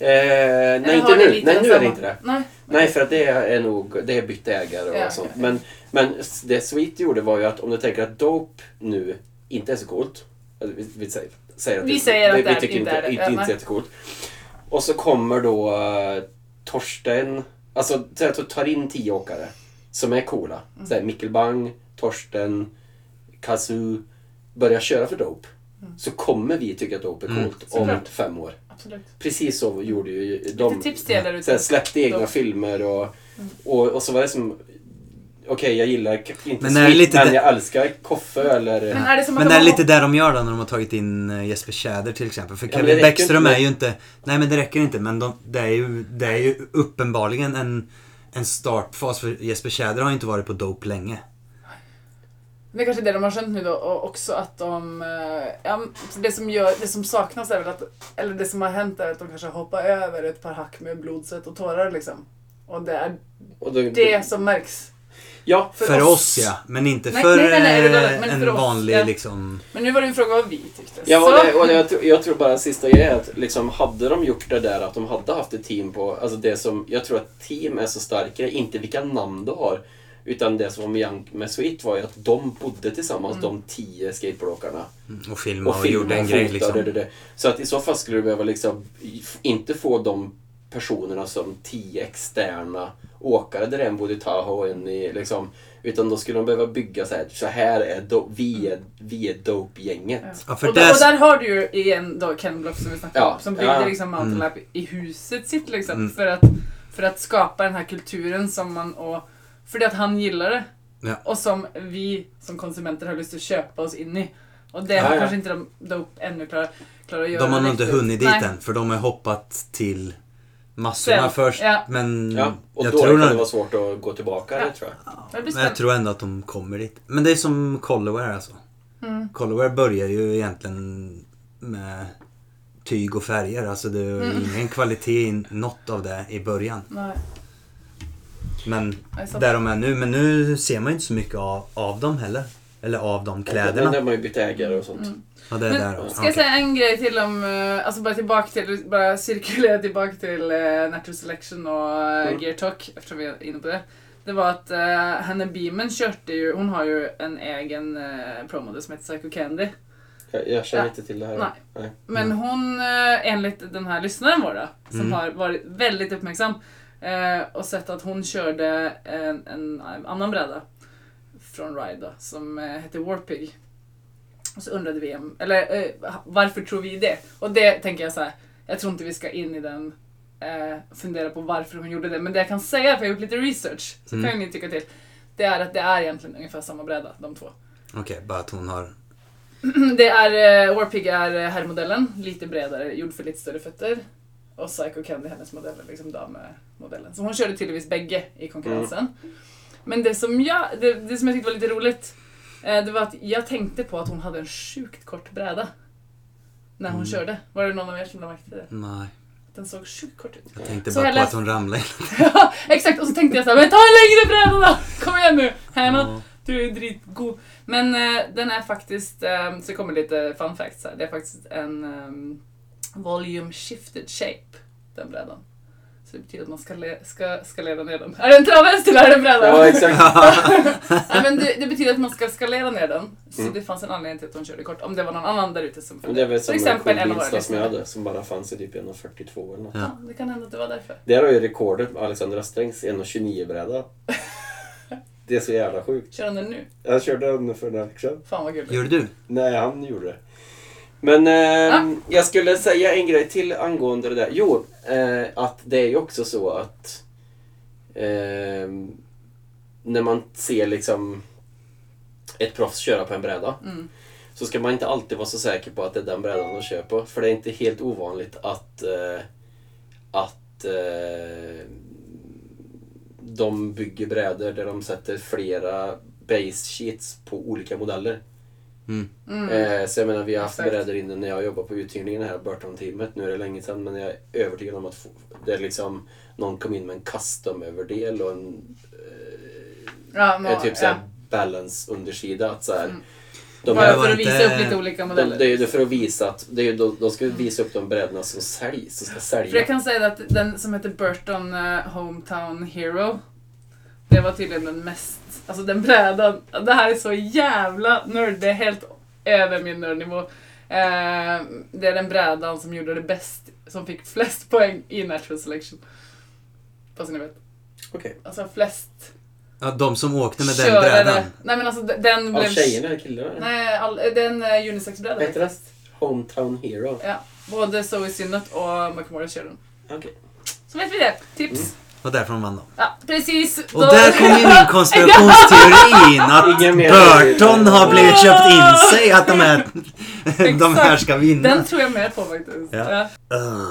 S3: nej,
S1: Eller
S3: inte
S1: har
S3: nu.
S1: det
S3: Nej,
S1: lite
S3: nu är det
S1: samma?
S3: inte det.
S1: Nej.
S3: Nej, för att det är nog, det är bytt ägare och
S1: Ja,
S3: sånt.
S1: okej.
S3: Men, men det Sweet gjorde var ju att om du tänker att Dope nu inte är så coolt. Eller vi, vi säger, säger att
S1: Vi
S3: det,
S1: säger att
S3: vi,
S1: det är-
S3: vi tycker
S1: inte
S3: inte,
S1: är det.
S3: inte,
S1: Ja,
S3: inte
S1: nej.
S3: jättecoolt. Och så kommer då eh, Torsten, alltså säg att du tar in tio åkare som är coola.
S1: Mm.
S3: Så här, Mikkel Bang, Torsten, Kazoo börjar köra för dope.
S1: Mm.
S3: Så kommer vi tycka att dope är
S2: Mm,
S3: coolt om
S1: såklart.
S3: fem år.
S1: Absolut.
S3: Precis så gjorde ju de.
S1: Lite tips till er där
S3: Så här,
S1: ute.
S3: släppte egna
S1: De-
S3: filmer och, och, och så var det som... Okej, jag gillar kanske inte
S2: Men
S3: men
S2: är det lite
S3: men
S2: det-
S3: jag älskar Koffe eller...
S1: Men är det som att
S2: Men det
S1: de
S2: är
S1: har-
S2: lite där de gör då när de har tagit in eh, Jesper Tjäder till exempel. För
S3: Ja, men
S2: Kevin
S3: det räcker
S2: Bäckström
S3: inte.
S2: är ju inte... Nej men det räcker inte men de, det, är ju, det är ju uppenbarligen en, en startfas för Jesper Tjäder har ju inte varit på dope länge.
S1: Det är kanske är det de har känt nu då och också att de... eh, Ja, men det, som gör, det som saknas är väl att... Eller det som har hänt är att de kanske hoppar över ett par hack med blod, svett och tårar liksom. Och det är
S3: Och då,
S1: det som märks.
S3: Ja,
S2: För, oss. ja, men inte
S1: Nej,
S2: för
S1: nej, nej, nej,
S2: eh,
S1: nej, men
S2: en
S1: för oss,
S2: vanlig
S1: ja.
S2: liksom...
S1: Men nu var det en fråga vad vi tyckte.
S3: ja
S1: Så-
S3: och, det, och det, jag, tror- jag tror bara en sista grej är att liksom, hade de gjort det där att de hade haft ett team på... Alltså det som, jag tror att team är så starkare, inte vilka namn du har. Utan det som var med Young med Sweet var ju att de bodde tillsammans,
S1: Mm.
S3: de tio skateboardåkarna.
S2: mm, Och filma och,
S3: filma,
S2: gjorde en
S3: fota,
S2: grej liksom.
S3: det, det, det. Så att i så fall skulle du behöva liksom f- inte få de personerna som tio externa åkare där en bodde i Tahoe och en i liksom. Utan då skulle de behöva bygga så här, så här är do, vi
S1: Mm.
S3: är, vi är dope-gänget.
S2: Ja, för
S1: och,
S2: där-
S1: där, och där har du ju igen då Ken Block som vi snackade
S3: Ja,
S1: om, som byggde
S3: ja.
S1: liksom Mountain Lap i huset sitt liksom
S2: Mm.
S1: för, att, för att skapa den här kulturen som man och för det att han gillar det.
S2: Ja.
S1: Och som vi som konsumenter har lust att köpa oss in i. Och det
S3: Ja,
S1: har
S3: ja.
S1: kanske inte de Dope ännu klarat klara att göra.
S2: De har nog inte
S1: riktigt.
S2: hunnit dit
S1: Nej.
S2: än för de har hoppat till massorna
S1: Sen,
S2: först.
S1: ja.
S2: Men
S3: Ja, och
S2: Mm. jag
S3: då
S2: tror
S3: kan det
S2: nog-
S3: vara svårt att gå tillbaka
S1: Ja.
S3: det tror jag.
S1: Det blir
S2: Men jag
S1: spännande.
S2: tror ändå att de kommer dit. Men det är som Colorware alltså.
S1: Mm.
S2: Colorware börjar ju egentligen med tyg och färger. Alltså det är ju
S1: Mm.
S2: ingen kvalitet i något av det i början.
S1: Nej,
S2: Men
S1: det är sant.
S2: där de är nu. Men nu ser man ju inte så mycket av, av dem heller. Eller av de
S3: Men där
S2: kläderna.
S3: har man ju bytt ägare och sånt.
S1: Mm.
S2: Ja, det är
S1: Men
S2: där Ah, också.
S1: Ska jag säga en grej till om, eh, alltså bara tillbaka till, bara cirkulera tillbaka till eh, Natural Selection och eh,
S3: Mm.
S1: Gear Talk eftersom vi är inne på det. Det var att eh, Hanna Beeman körde ju, hon har ju en egen eh, promo som heter Psycho Candy.
S3: Jag, jag känner
S1: Ja.
S3: inte till det här.
S1: Nej.
S3: Nej.
S1: Men hon, eh, enligt den här lyssnaren vår då, som
S2: Mm.
S1: har varit väldigt uppmärksam eh, och sett att hon körde en, en annan bräda från Ride då, som eh, hette Warpig. Och så undrade vi om, eller eh, varför tror vi det? Och det tänker jag så här, jag tror inte vi ska in i den eh, fundera på varför hon gjorde det. Men det jag kan säga, för jag har gjort lite research, så
S2: Mm.
S1: kan ju ni tycka till. Det är att det är egentligen ungefär samma bräda, de två.
S2: Okej, bara att hon har...
S1: Det är, eh, Warpig är eh, herrmodellen, lite bredare, gjord för lite större fötter. Och Psycho Candy, hennes modell, är liksom dammodellen. Så hon körde tydligtvis bägge i konkurrensen. Men det som, jag, det, det som jag tyckte var lite roligt, eh, det var att jag tänkte på att hon hade en sjukt kort bräda. När hon
S2: Mm.
S1: körde. Var det någon av er som märkte det?
S2: Nej,
S1: Den såg sjukt kort ut.
S2: jag tänkte
S1: Så
S2: bara
S1: jag
S2: på
S1: läs-
S2: att hon ramlade.
S1: Ja, exakt! Och så tänkte jag så här, men ta en längre bräda då! Kom igen nu! Hanna, du är ju dritgod. Men eh, den är faktiskt, eh, så kommer lite fun facts här. Det är faktiskt en eh, volume shifted shape, den brädan. Så det betyder att man ska, le- ska, ska leda ner den. Är det en travesti eller är det en bräda?
S3: Ja, exakt.
S1: Nej, men det, det betyder att man ska skalera ner den. Så
S3: Mm.
S1: det fanns en anledning till att de körde kort. Om det var någon annan där ute som
S3: Men det är väl
S1: Till
S3: som en
S1: exempel
S3: cool
S1: en av våra
S3: Insta som jag
S1: lyssnare.
S3: hade som bara fanns i typ 1,42 eller något.
S1: Ja, det kan hända att det var därför.
S3: Där har ju rekordet med Alexander Asträngs 1,29-bräda. Det är så jävla sjukt.
S1: Kör han den nu?
S3: Jag körde den för några veckor sedan.
S1: Fan vad gulligt.
S2: Gjorde du?
S3: Nej, han gjorde det. Men ehm, jag skulle säga en grej till angående det där. Jo, eh, att det är ju också så att ehm, när man ser liksom ett proffs köra på en bräda
S1: Mm.
S3: så ska man inte alltid vara så säker på att det är den brädan de kör på. För det är inte helt ovanligt att, eh, att eh, de bygger brädor där de sätter flera base sheets på olika modeller.
S2: Mm.
S1: Mm.
S3: Eh, så jag menar, vi har haft
S1: Exakt.
S3: brädor inne när jag jobbade på uthyrningen här, Burton-teamet. Nu är det länge sedan, men jag är övertygad om att få- det är liksom någon kom in med en custom-överdel och en,
S1: Ja, nå,
S3: en typ såhär
S1: ja.
S3: balance-undersida. Att så här,
S1: Mm.
S3: de
S1: Bara
S3: här,
S1: för att
S2: inte-
S1: visa upp lite olika
S3: de,
S1: modeller.
S3: det är ju för att visa att det är, ju- de, de ska ju visa upp de brädorna som säljs, som ska
S1: För jag
S3: sälja.
S1: kan säga att den som heter Burton eh, Hometown Hero, det var tydligen den mest, alltså den brädan, det här är så jävla nörd, det är helt över min nördnivå. Eh, det är den brädan som gjorde det bäst, som fick flest poäng i Natural Selection. Fast ni vet.
S3: Okej.
S1: Alltså flest
S2: Ja, de som åkte med den
S1: körare.
S2: brädan.
S1: Nej men alltså den den
S3: Av
S1: blev...
S3: tjejerna eller killarna?
S1: Nej, all, eh, den är unisexbrädan.
S3: Vad heter den? Hometown Hero.
S1: Ja, både Zoe Synnet och McMorris kör den.
S3: Okej.
S1: Så vet vi det. Tips.
S2: Och därför vann de.
S1: Ja, precis.
S2: Mm. Och där kom ju min konspirationsteori in att
S3: Ingen mer.
S2: Burton har blivit köpt in sig att de här, de här
S1: Ah. Exakt.
S2: ska vinna.
S1: Den tror jag med på faktiskt.
S2: Ja.
S1: Ja.
S2: Ugh.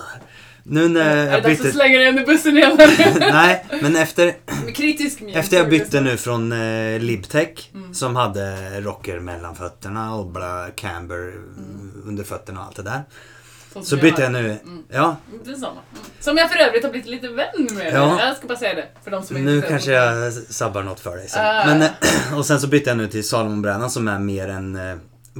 S2: nu när
S1: Är det
S2: jag
S1: dags att
S2: bytte...
S1: slänga dig under bussen igen eller?
S2: Nej, men efter,
S1: Kritisk min.
S2: efter jag bytte nu från eh, Libtech
S1: Mm.
S2: som hade rocker mellan fötterna och bla, camber
S1: Mm.
S2: eh, under fötterna och allt det där.
S1: som
S2: Så bytte jag nu.
S1: Mm.
S2: Ja,
S1: Det är samma. Mm. Som jag för övrigt har blivit lite vän med.
S2: Ja.
S1: Jag ska bara säga det. För de som
S2: nu
S1: inte
S2: kanske jag sabbar något för dig sen.
S1: Ah.
S2: Men, eh, och sen så bytte jag nu till Salomonbrädan som är mer en eh,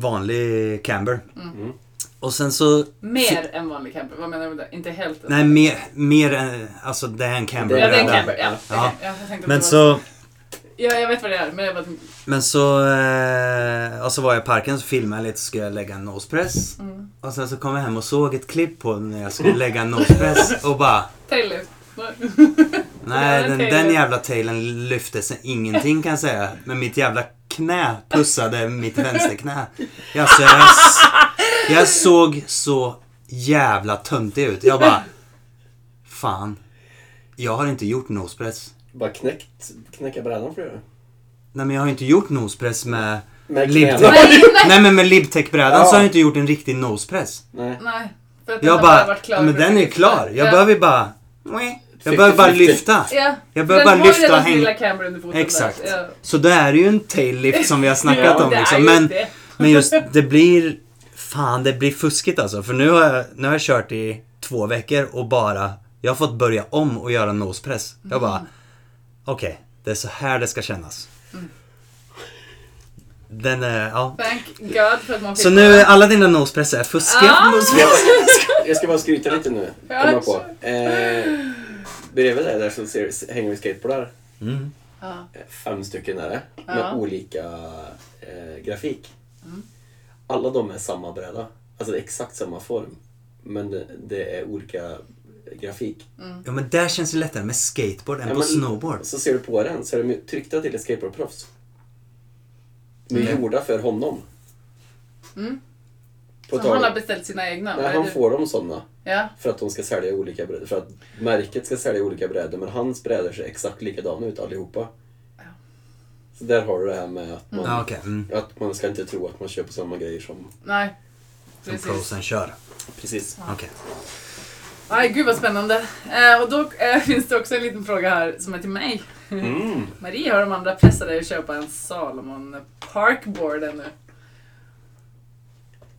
S2: vanlig camber.
S3: Mm.
S2: Och sen så
S1: Mer än vanlig camper. Vad menar du med det? Inte helt.
S2: Nej, mer, mer än... Alltså, det är en
S1: Ja, det är en
S3: Brädan.
S2: Canberra-bräda.
S1: camper. Ja.
S2: Ja.
S1: okej. Ja, jag tänkte att det
S2: Men
S1: var-
S2: så...
S1: Ja, jag vet vad det är. Men jag bara tänkte...
S2: Men så... Eh, och så var jag i parken så filmade jag lite så skulle jag lägga en nosepress.
S1: Mm.
S2: Och sen så kom jag hem och såg ett klipp på när jag skulle lägga en nosepress och bara...
S1: Tailift.
S2: Nej,
S1: Den
S2: den,
S1: tailen.
S2: den jävla tailen lyfte sig ingenting kan jag säga. Men mitt jävla knä pussade mitt vänsterknä. Alltså, jag, s- jag såg så jävla töntig ut. Jag bara... Fan. Jag har inte gjort nosepress.
S3: Bara knäckt, knäcka brädan för det.
S2: Nej men jag har ju inte gjort nosepress med...
S3: Med
S2: Libtech.
S3: knäna.
S1: Nej, nej.
S2: Nej men med Libtech-brädan
S3: Ja.
S2: så har jag inte gjort en riktig nosepress.
S3: Nej.
S1: Nej. För att den
S2: Jag
S1: har
S2: bara,
S1: varit klar
S2: ja, men
S1: för
S2: den är ju
S1: mycket.
S2: klar. Jag
S1: Ja.
S2: behöver ju bara... Jag behöver bara lyfta.
S1: Ja.
S2: Jag behöver bara lyfta och hänga-
S1: Camera under foten
S2: Exakt.
S1: Där. Ja.
S2: Så då är det ju en tail lift som vi har snackat
S3: Ja,
S2: om
S1: det är
S2: liksom.
S1: ju
S2: Men,
S1: det.
S2: men just det blir... Fan, det blir fuskigt alltså. För nu har jag, nu har jag kört i två veckor och bara... Jag har fått börja om och göra nosepress. Jag bara...
S1: Mm.
S2: Okej, det är så här det ska kännas. Den är... Ja.
S1: Thank God för att man fick
S2: Så nu, är alla dina nosepress är fuskiga
S1: Ah!
S2: nosepress.
S3: Jag, jag ska bara skryta lite nu. Kommer jag på. Eh, bredvid där, där så ser, hänger vi skateboardar.
S2: Mm.
S1: Ja.
S3: Fem stycken är det. Med
S1: Ja. Mm.
S3: olika eh, grafik. Alla de är samma bräda. Alltså det är exakt samma form. Men det, det är olika grafik.
S1: Mm.
S2: Ja men där känns det lättare med skateboard än
S3: Ja,
S2: på
S3: men-
S2: snowboard.
S3: Så ser du på den så är de ju tryckta till ett skateboardproffs. De är
S2: Mm.
S3: gjorda för honom.
S1: Mm.
S3: På
S1: Så han har
S3: tal.
S1: beställt sina egna?
S3: Nej,
S1: vad är
S3: han
S1: det?
S3: får dem sådana.
S1: Ja.
S3: För att de ska sälja olika brädor. För att märket ska sälja olika brädor men hans brädor ser exakt likadana ut allihopa.
S1: Ja.
S3: Så där har du det här med att man,
S2: Ja okej, mm.
S3: att man ska inte tro att man köper samma grejer som...
S1: Nej.
S2: Som
S1: Precis.
S2: prosen kör.
S3: Precis.
S2: Okej.
S1: Aj, gud vad spännande. Eh, och då eh, finns det också en liten fråga här som är till mig.
S3: Mm.
S1: Marie har de andra pressat dig att köpa en Salomon Parkboard ännu.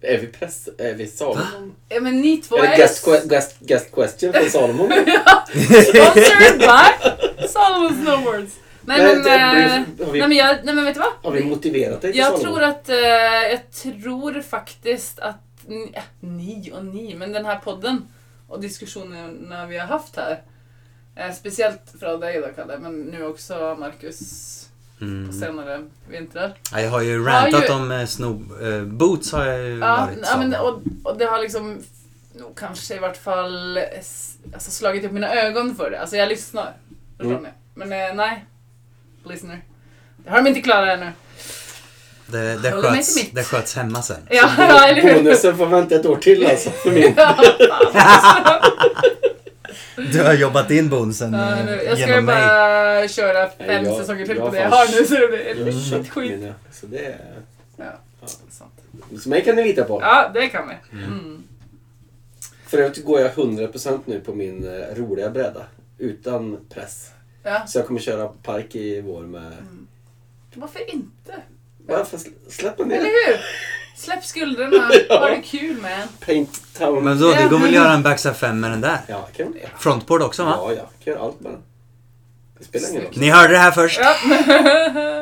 S3: Är vi press... Är vi Salomon?
S1: Ja Eh, men ni två
S3: Är det
S1: är
S3: guest, que- guest, guest question från Salomon?
S1: sponsored by Salomon Snowboards. Nej
S3: Nej,
S1: men,
S3: det
S1: eh,
S3: blir- har vi-
S1: nej men jag, nej men vet du vad?
S3: Har vi motiverat dig till
S1: Jag
S3: Salomon?
S1: tror att, eh, jag tror faktiskt att ni, äh, ni och ni, men den här podden och diskussionerna vi har haft här. Eh, speciellt från dig då Kalle, men nu också Marcus på
S2: Mm.
S1: senare vintrar.
S2: Ja, Jag har ju rantat
S1: Har ju-
S2: om eh, snow... eh, boots har jag ju
S1: Ja,
S2: varit
S1: ja men,
S2: så.
S1: och, och det har liksom nog kanske i vart fall eh, s- alltså, slagit upp mina ögon för det. Alltså jag lyssnar. Förstår
S3: Mm.
S1: ni? Men eh, nej. Listener. Det har de inte klarat ännu.
S2: Det, det,
S1: Håller mig till
S2: sköts,
S1: mitt.
S2: det sköts hemma sen.
S1: Ja, ja eller hur?
S3: Bonusen får vänta ett år till alltså. För min.
S1: Ja,
S2: Du har jobbat in bonusen
S1: ja,
S2: eh,
S1: nu, jag ska ju
S2: genom mig.
S1: bara köra fem
S3: Nej, jag-
S1: säsonger till på
S3: jag
S1: det jag
S3: har-
S1: har nu så det blir
S3: Jag har
S1: mm.
S3: köpt
S1: skit.
S3: mina, Så det är...
S1: Ja,
S3: Ja.
S1: sant.
S3: Så mig kan ni lita på.
S1: ja, det kan vi. Mm.
S3: För övrigt går jag 100% nu på min eh, roliga bräda. Utan press.
S1: Ja.
S3: Så jag kommer köra park i vår med...
S1: Mm. Varför inte?
S3: Varför sl- släpp den
S1: Eller
S3: ner?
S1: hur? Släpp skulderna,
S3: Ja.
S1: ha det kul man.
S3: Paint town.
S2: Men då, det går väl att göra en backside 5 med den där?
S3: Ja, kan jag
S2: Frontboard också va?
S3: Ja, ja. Kan göra allt med den. Det spelar ingen roll.
S2: Ni hörde det här först.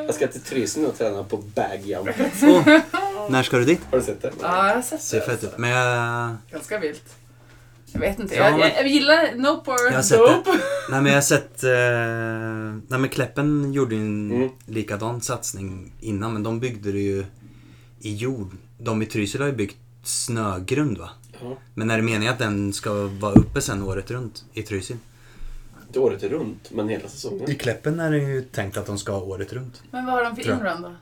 S3: Jag ska till Trysil och träna på bagjump.
S2: Åh, när ska du dit?
S3: Har du sett det?
S1: Ja, jag har sett
S2: Ser fett ut. Men jag...
S1: Ganska vilt. Jag vet inte.
S2: Ja,
S1: Jag,
S2: men-
S1: jag, jag gillar No
S2: Jag har
S1: Power
S2: sett
S1: Dope.
S2: Nej men jag har sett... Eh, nej men Kläppen gjorde ju en
S3: Mm.
S2: likadan satsning innan men de byggde det ju i jord. de i Trysil har ju byggt snögrund va?
S3: Ja,
S2: Men är det meningen att den ska vara uppe sen året runt i Trysil?
S3: det är året är runt, men hela säsongen.
S2: I Kläppen är det ju tänkt att de ska ha året runt.
S1: Men vad har de för
S2: Tror jag.
S1: inrun då?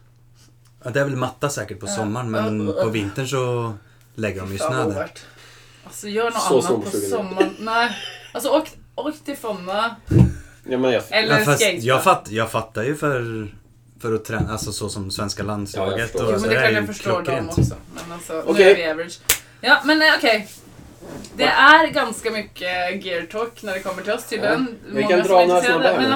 S2: Ja, det är väl matta säkert på
S1: Ja.
S2: sommaren men
S1: Ja.
S2: på vintern så lägger de ju
S1: Fan,
S2: snö
S1: vad
S2: där.
S1: ovärt. Alltså gör något
S3: Så
S1: annat på
S3: solsugen.
S1: sommaren. Nej. Alltså åk, åk till Fonna.
S3: Ja, men jag,
S1: Eller
S2: Ja, fast
S1: skateboard.
S2: jag, fatt, jag fattar ju för, för att träna, alltså så som svenska
S3: Ja, jag
S2: landslaget.
S3: förstår.
S2: och
S1: Jo, men
S2: så
S1: det är klart
S2: ju
S1: jag förstår dem
S2: klockrent.
S1: också. Men alltså, nu
S3: Okej.
S1: är vi average. Ja, men eh, okej. Det är ganska mycket gear talk när det kommer till oss tydligen.
S3: Ja, vi
S1: Många
S3: kan
S1: som
S3: dra
S1: är
S3: några
S1: intresserade.
S3: snabba här
S1: Men
S3: nu.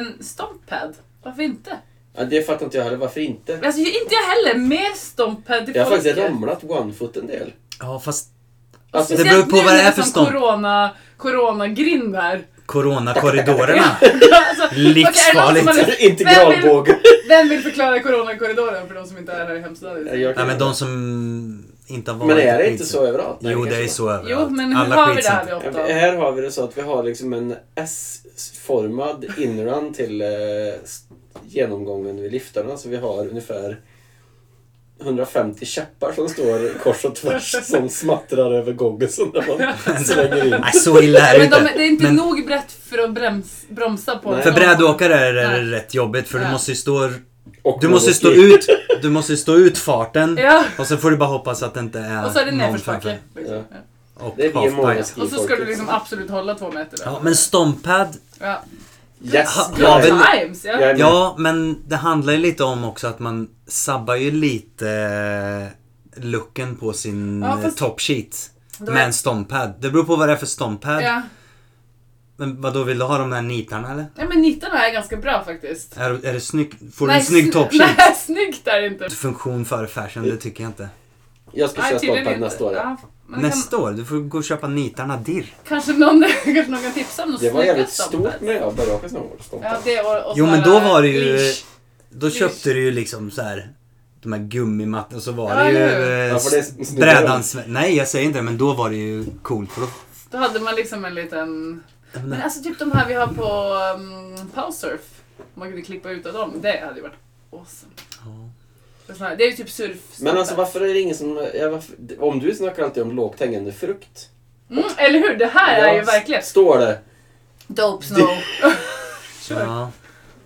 S1: alltså, en stomppad. Varför inte?
S3: ja, det fattar inte jag heller. Varför inte?
S1: Alltså, inte jag heller. Mer stomppad till
S3: Jag har faktiskt
S1: folket.
S3: ramlat one-foot en del.
S2: Ja fast
S3: Alltså,
S2: Det beror på vad det är för
S1: stomp.
S2: stomp.
S1: Corona, coronagrind här.
S2: coronakorridorerna.
S1: alltså, okej, är det någon som har
S2: Livsfarligt.
S1: lyssnat?
S3: Integralbåge.
S1: Vem vill förklara coronakorridoren för de som inte är här i hemstaden?
S3: Nej, jag kan
S2: Nej men de
S3: inte.
S2: som inte har varit
S3: men är
S2: på
S3: det inte
S2: skidor.
S3: så överallt? Nej,
S2: Jo,
S3: kanske
S2: det är
S3: inte.
S2: så överallt.
S1: Jo, men hur
S2: Alla
S1: har vi det
S2: skidcenter.
S1: här vid
S3: Ja,
S1: åtta?
S3: vi- Här har vi det så att vi har liksom en S-formad inrun till eh, s- genomgången vid liftarna. Så vi har ungefär 150 käppar som står kors och tvärs som smattrar över goggesen när man slänger in.
S2: Nej, så illa är det
S1: Men de,
S2: inte.
S1: det är inte
S2: Men-
S1: nog brett för att brems, bromsa på.
S3: Nej.
S2: För
S1: Ja.
S2: brädåkare är det
S1: Nej.
S2: rätt jobbigt för
S1: Ja.
S2: du måste ju stå...
S3: Och
S2: Du måste ju stå
S3: någon-
S2: ut, du måste ju stå ut farten
S1: Ja,
S2: och så får du bara hoppas att det inte är
S1: och så är det
S2: någon
S1: nedförsbacke.
S2: framför.
S1: Liksom. Ja.
S2: Och
S3: Det är vi många
S2: halfpipe.
S1: Och så ska du
S3: skifolket.
S1: liksom absolut hålla två meter. Där.
S2: Ja, men stompad,
S1: Ja.
S3: Yes,
S2: Ha-
S3: jag
S2: ha
S3: är-
S2: väl-
S1: Times,
S3: jag är
S1: ja.
S3: med.
S2: ja men det handlar ju lite om också att man sabbar ju lite eh, looken på sin eh,
S1: Ja, fast-
S2: top sheet
S1: Då är-
S2: med en stompad. Det beror på vad det är för stompad.
S1: ja.
S2: Men vad då vill du ha de här nitarna eller?
S1: ja men nitarna är ganska bra faktiskt.
S2: Är, är det snygg, får du en
S1: Nej, sn-
S2: snygg top sheet?
S1: Nej, snyggt är det inte.
S2: Funktion före fashion, det tycker jag inte.
S3: Jag ska köra
S1: Nej, tydligen
S3: stolpen
S1: inte.
S3: nästa år. ja.
S1: Ja, men
S2: Nästa år, du får gå och köpa nitarna dirr.
S1: Kan, kanske, någon, kanske någon kan tipsa om något
S3: Det var
S1: snygga
S3: jävligt
S1: stampar.
S3: stort när jag började åka snowboard.
S1: Ja,
S3: stolpen.
S1: det och, och
S2: Jo,
S1: så
S2: men
S1: här,
S2: då var det ju-
S1: leash.
S2: Då köpte du ju liksom så här de här gummimattorna och så var
S1: Ja,
S2: det ju
S1: eller hur?
S2: eh,
S3: Ja, för det är
S2: s-
S3: snygga
S2: brädan... Nej, jag säger inte det, men då var det ju coolt. För då...
S1: Då hade man liksom en liten... Men alltså typ de här vi har på um, Powsurf. Om man kunde klippa ut av dem. Det hade ju varit awesome.
S2: Ja.
S1: Det är sån här- Det är ju typ surf.
S3: Men alltså varför är det ingen som... Ja, varför, om du snackar alltid om lågt hängande frukt.
S1: Mm, eller hur? Det här är
S3: Ja,
S1: ju verkligen...
S3: Står det
S1: Dope snow. sure.
S2: Ja.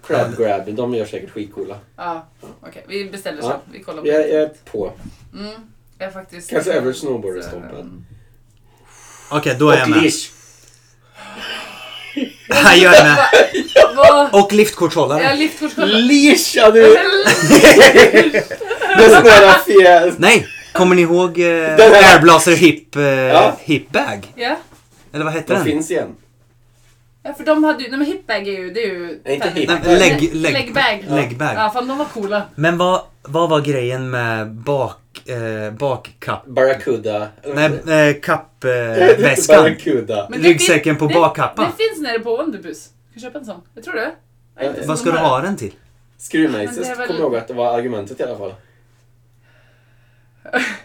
S3: crab grab, de gör säkert skitcoola.
S1: Ja, okej. Vi beställer så.
S3: Ja.
S1: Vi kollar på
S3: Jag, jag
S1: det.
S3: är på.
S1: Mm, jag är faktiskt...
S3: Kanske average snowboarder stompad.
S1: Mm.
S2: Okej, då är jag
S3: Och
S2: med.
S3: leash.
S2: Ja, jag är med.
S1: Vad...
S2: Och liftkortshållare.
S1: Ja, liftkortskollare.
S3: Leash! Ja, du, det är sån där fjäs.
S2: Nej! Kommer ni ihåg eh,
S3: Den här.
S2: Airblaser hip, eh,
S3: Ja.
S2: hip bag?
S1: Ja.
S2: Eller vad hette
S3: De
S2: den?
S3: finns igen.
S1: ja, för de hade ju... Nej men hipbag är ju... Det är ju...
S3: Nej, inte hip.
S2: Nej,
S3: Nej,
S2: lägg, lägg,
S1: Läggbag.
S2: läggbag.
S1: Ja, fan de var coola.
S2: Men vad, vad var grejen med bak, eh, bakkapp?
S3: Barracuda.
S2: Nej, eh,
S3: Det heter
S2: kappväskan.
S3: Barracuda.
S1: Men det
S2: Ryggsäcken på
S1: det-
S2: bakkappan.
S1: Det finns nere på Wonderbus. Du kan köpa en sån. Jag tror det. Ja, inte
S3: Vad
S1: som
S2: Vad ska
S1: de
S2: du
S1: här.
S2: ha den till?
S1: Men det är
S3: Screwmaces
S1: väl-
S3: kommer jag ihåg att det var argumentet i alla fall.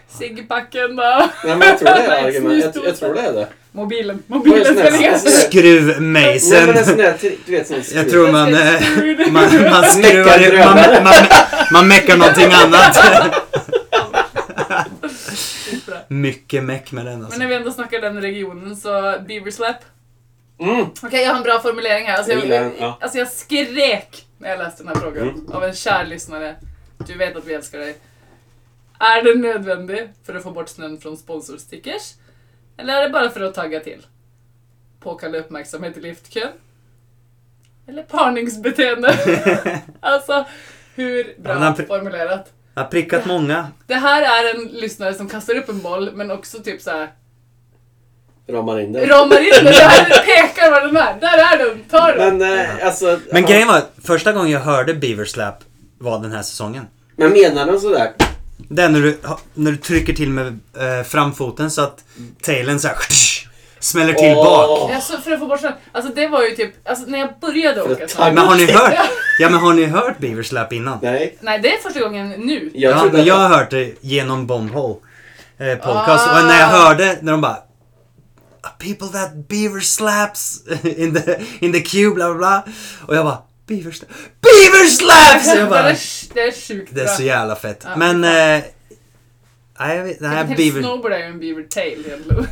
S1: Ciggpacken då.
S3: Nej men jag tror det
S1: Nej,
S3: är argumentet. Jag, jag tror det är det.
S1: Mobilen. Mobilen
S3: Vad är
S1: ska
S3: det?
S1: ligga.
S3: Alltså, Nej men alltså, en sån
S2: Skruvmejseln.
S3: där, du vet sån skruv.
S2: Jag tror man, eh, man, man skruvar
S3: Meckar
S2: man, man, man, man meckar någonting annat. Mycket meck med den
S1: Men
S2: alltså.
S1: när vi ändå snackar den regionen så Beaver Slap.
S3: Mm.
S1: Okej, jag har en bra formulering här. Alltså
S3: Jag
S1: jag,
S3: gillar den, ja.
S1: alltså jag skrek när jag läste den här frågan
S3: Mm.
S1: av en kär lyssnare. Du vet att vi älskar dig. Är den nödvändig för att få bort snön från sponsorstickers? Eller är det bara för att tagga till? Påkalla uppmärksamhet i liftkön? Eller parningsbeteende? alltså, hur bra
S2: Ja, men han-
S1: formulerat?
S2: Jag har prickat många.
S1: Det här är en lyssnare som kastar upp en boll men också typ så här
S3: Ramar in den.
S1: ramar in den. Där pekar var den är. Där är den. Ta den.
S3: Men eh, alltså...
S2: Men grejen var, första gången jag hörde Beaver Slap var den här säsongen.
S3: Men menar den sådär?
S2: Det är när du, när du trycker till med eh, framfoten så att tailen så här, smäller till
S3: Åh.
S2: bak.
S1: Ja, så för att få bort snön. Alltså det var ju typ, alltså när jag började
S3: För
S1: åka
S3: att
S1: snö.
S2: Men har ni hört? Ja men har ni hört Beaver Slap innan?
S3: Nej.
S1: Nej det är första gången nu.
S3: Jag
S2: ja,
S3: trodde
S2: men jag
S3: att-
S2: har hört det genom Bombhole eh, podcast.
S1: Ah.
S2: Och när jag hörde, när de bara People that beaver slaps in the, in the queue, bla bla bla. Och jag bara Beaver, sla- beaver slaps! Och jag
S1: det,
S2: bara,
S1: är, det är sjukt
S2: det är så
S1: bra.
S2: jävla fett.
S1: Ja,
S2: Men
S1: fy
S2: eh, Nej, jag vet,
S1: Nej,
S2: nej
S1: jag
S2: beaver...
S1: Snowboard är ju en beaver tail egentligen.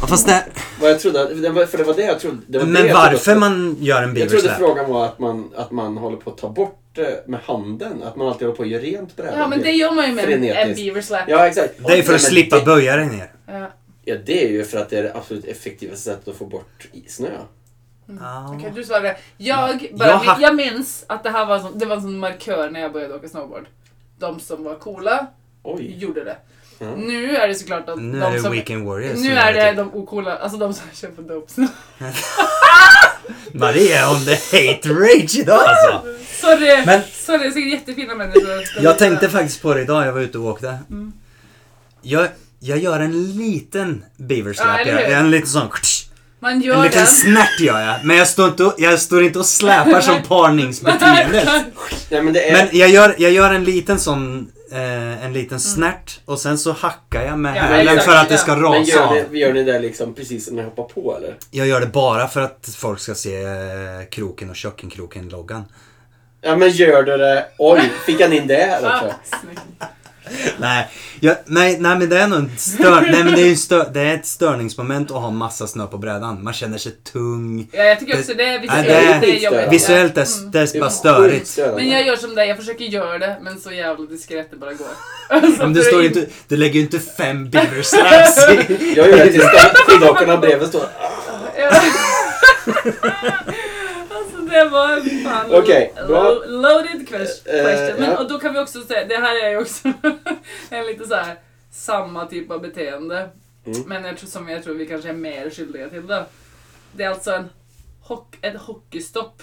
S2: Ja, fast det,
S3: Vad jag trodde, att- det var- för det var det jag trodde. Det var det
S2: men
S3: jag trodde
S2: varför
S3: att-
S2: man gör en beaver
S3: Jag trodde
S2: slap?
S3: frågan var att man, att man håller på att ta bort det med handen. Att man alltid håller på att göra rent brädan.
S1: Ja men det gör man ju med en- en
S3: Frenetiskt.
S1: beaver slap.
S3: Ja, exakt.
S2: Det är för
S3: Ja,
S2: att
S3: men
S2: slippa
S3: det-
S2: böja dig ner.
S1: Ja.
S3: Ja, det är ju för att det är det absolut effektivaste sättet att få bort i- snö.
S2: Ja.
S1: Mm. Okej, du svarade. Jag, bara,
S2: Jag har-
S1: jag minns att det här var, en sån, det var en sån markör när jag började åka snowboard. De som var coola
S3: Oj.
S1: gjorde det.
S3: Ja.
S1: Nu är det såklart att
S2: Nu
S1: de
S2: är typ- det
S1: som...
S2: Weekend Warriors. som
S1: nu är
S2: gör
S1: det de ocoola, alltså de som kör på dope snow.
S2: Maria on the hate rage idag alltså.
S1: Sorry!
S2: Men-
S1: Sorry, det är säkert jättefina människor.
S2: Jag tänkte faktiskt på det idag, jag var ute och åkte.
S1: Mm.
S2: Jag, jag gör en liten beaver
S1: Ja,
S2: slap.
S1: eller
S2: jag,
S1: hur?
S2: en liten sån...
S1: Man
S2: En
S1: gör
S2: liten
S1: den.
S2: snärt gör jag. Men jag står inte och, jag står inte och släpar som parningsbeteendet.
S3: Nej, men det är...
S2: Men jag gör, jag gör en liten sån, eh, en liten snärt och sen så hackar jag med
S1: Ja,
S2: hälen
S3: exakt.
S2: för att det ska
S3: Men
S2: rasa
S3: gör,
S2: av.
S3: ni, gör ni det liksom precis när ni hoppar på eller?
S2: Jag gör det bara för att folk ska se eh, kroken och kökenkroken-loggan.
S3: Ja men gör du det... Oj, fick han in det här också?
S1: Ah, snyggt.
S2: Nej, jag, nej, nej men det är nog en stör, nej, men det är ju en stör, det är ett störningsmoment att ha massa snö på brädan. Man känner sig tung.
S1: Ja, jag tycker också det är visuellt.
S2: det är-
S1: det är jobbigt.
S2: Visuellt är
S1: Mm.
S2: det är bara
S3: sjukt
S2: störigt.
S3: störande.
S1: Men jag gör som dig, jag fööker göra det men så jävla diskret det bara går.
S2: Om du, står ju inte, du lägger ju inte fem beaver slaps i.
S3: Jag gör det tills de- skidåkarna bredvid står.
S1: alltså det var en fan
S3: Okej, bra.
S1: lo- loaded quest-
S3: Eh,
S1: question. Men,
S3: ja.
S1: och då kan vi också säga, det här är ju också en lite så här samma typ av beteende.
S3: Mm.
S1: Men jag tror, som jag tror vi kanske är mer skyldiga till det. Det är alltså en hock, ett hockeystopp.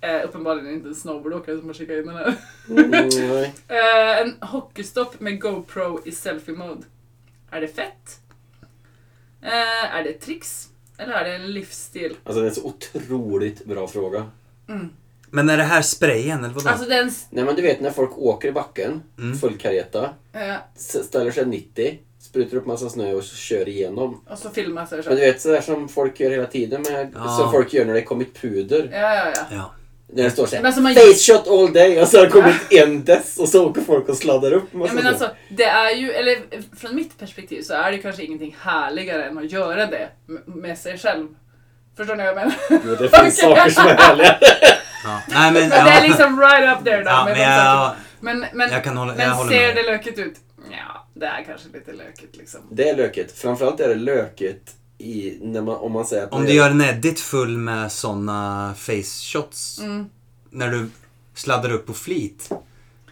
S1: Eh, uppenbarligen inte en snowboardåkare som har skickat in den här.
S3: Mm, nej.
S1: Eh, en hockeystopp med GoPro i selfie-mode. Är det fett? Eh, är det ett tricks? Eller är det en livsstil?
S3: Alltså det är en så otroligt bra fråga.
S2: Men är det här sprayen eller vadå?
S1: Alltså den... s-
S3: Nej men du vet när folk åker i backen,
S2: Mm.
S3: full kareta,
S1: Eh,
S3: s- ställer sig 90, sprutar upp massa snö och så kör igenom.
S1: och så filmar sig så.
S3: Men du
S1: Ja,
S3: vet sådär som folk gör hela tiden, med,
S2: Ja.
S3: som folk gör när det kommit puder.
S1: ja, ja.
S2: Ja.
S3: När det står såhär
S1: Men alltså man-
S3: face shot all day och så har det kommit en dess och så åker folk och sladdar upp massa
S1: Ja, men
S3: snö.
S1: alltså, det är ju, eller eh, från mitt perspektiv så är det kanske ingenting härligare än att göra det m- med sig själv. Förstår ni vad jag menar?
S3: Jo, det finns
S1: Okej.
S3: saker som är härligare.
S2: ja. Nej men,
S1: Men det är
S2: ja.
S1: liksom right up there då.
S2: Ja,
S1: med
S2: men
S1: de
S2: jag,
S1: sakerna. men, men,
S2: jag kan hålla, jag
S1: men
S2: håller
S1: ser
S2: med.
S1: det
S2: dig.
S1: löket ut? Ja, det är kanske lite löket liksom.
S3: Det är löket. Framförallt är det löket i, när man, om man säger att
S2: Om
S3: man
S2: du gör en edit full med såna face shots
S1: Mm.
S2: när du sladdar upp på flit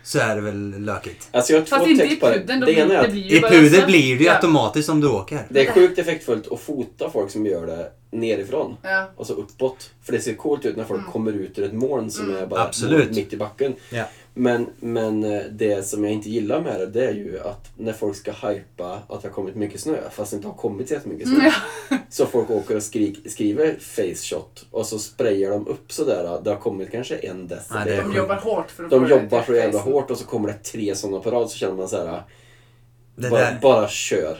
S2: så är det väl lökigt.
S3: Alltså jag har två
S1: Fast inte i
S3: text på det.
S1: pudeln,
S3: Det
S1: de,
S3: ena är
S1: det
S3: att
S1: blir ju
S2: I
S1: bara
S2: puder
S1: snö.
S2: blir det ju
S1: alltså, ja.
S2: automatiskt om du åker.
S3: det är sjukt effektfullt att fota folk som gör det nerifrån.
S1: Ja. Mm.
S3: Och så uppåt. För det ser coolt ut när folk kommer ut ur ett moln som är bara
S2: Absolut.
S3: mitt i backen.
S2: Ja.
S3: Men, men eh, det som jag inte gillar med det, det är ju att när folk ska hypa att det har kommit mycket snö, fast det inte har kommit så jättemycket snö. Så folk åker och skrik, skriver face shot och så sprayar de upp sådär, det har kommit kanske en
S2: Nej, det är
S3: deciliter.
S1: De jobbar hårt för att få
S3: De
S1: det till
S3: jobbar så jävla
S1: face.
S3: hårt och så kommer det tre sådana på rad så känner man såhär,
S2: Det
S3: bara,
S2: där.
S3: bara kör.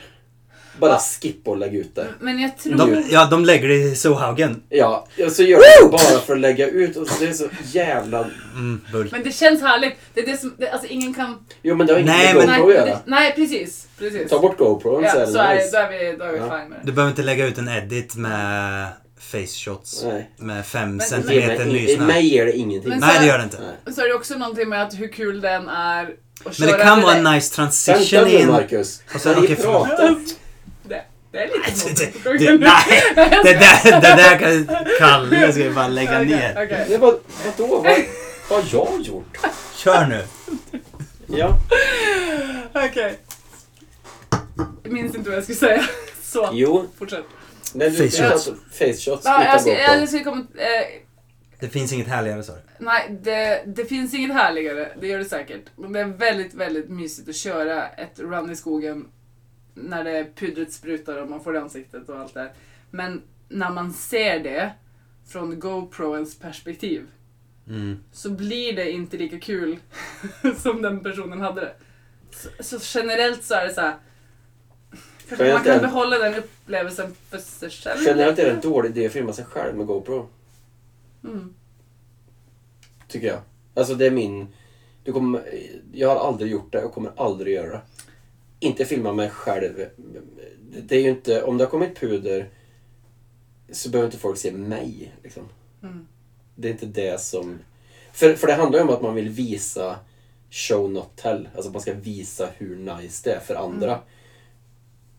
S3: Bara skippa och lägg ut det.
S1: Men jag tror...
S2: De, ja, de lägger det i sohaugen.
S3: Ja, och så gör de det bara för att lägga ut och det är så jävla...
S2: Mm, bull.
S1: Men det känns härligt. Det är det som... Det, alltså ingen kan...
S3: Jo men det har inget
S2: Nej,
S3: med
S2: men-
S1: Nej,
S3: GoPro att göra.
S1: det, nej precis. precis.
S3: Ta bort GoPron
S1: ja,
S3: så är
S1: så är det. Då är
S3: det nice.
S1: vi, då är vi
S3: Ja.
S1: fine med det.
S2: Du behöver inte lägga ut en edit med face shots
S3: Nej.
S2: med 5
S1: Men-
S3: Det ger
S2: centimeter
S3: mig-
S2: ny
S3: i- i
S2: snö.
S3: Mig ger det ingenting.
S1: Men-
S2: Nej, det gör det inte.
S3: Nej.
S1: Och Så är det också någonting med att hur kul den är att köra
S2: Men det kan
S1: till
S2: vara
S1: dig.
S2: en nice
S3: Vänta
S2: transition i
S3: nu
S2: en...
S3: Marcus.
S2: Och sen-
S3: Kan ni
S2: okej, förlåt.
S3: prata?
S1: Det, det är lite
S2: Nej,
S1: smått.
S2: det- det- nej, det där, det där kan Kalle ska ju bara lägga
S1: Okej,
S2: ner.
S1: okej.
S3: Nej, vad, vadå? Vad, vad har jag gjort?
S2: Kör nu.
S3: Ja.
S1: Okej. Jag minns inte vad jag skulle säga. Så,
S3: Jo.
S1: fortsätt.
S3: Nej, du, alltså
S2: Face shots.
S3: Face shots.
S1: Ja,
S3: Sluta
S1: jag skulle,
S3: GoPro.
S1: jag skulle komma... Eh,
S2: Det finns inget härligare sa du.
S1: Nej, det, det finns inget härligare. Det gör det säkert. Men det är väldigt, väldigt mysigt att köra ett run i skogen när det pudret sprutar och man får det i ansiktet och allt det här. Men när man ser det från GoProens perspektiv
S2: Mm.
S1: så blir det inte lika kul som den personen hade det. Så, så generellt så är det så här. Kanske man kan
S3: Generellt är-
S1: behålla den upplevelsen för sig själv.
S3: Generellt är det en dålig idé att filma sig själv med GoPro.
S1: Mm.
S3: Tycker jag. Alltså det är min... Du kommer, jag har aldrig gjort det och kommer aldrig göra det. inte filma mig själv. Det är ju inte, om det har kommit puder så behöver inte folk se mig. Liksom.
S1: Mm.
S3: Det är inte det som... För, för det handlar ju om att man vill visa show not tell. Alltså man ska visa hur nice det är för andra.
S1: Mm.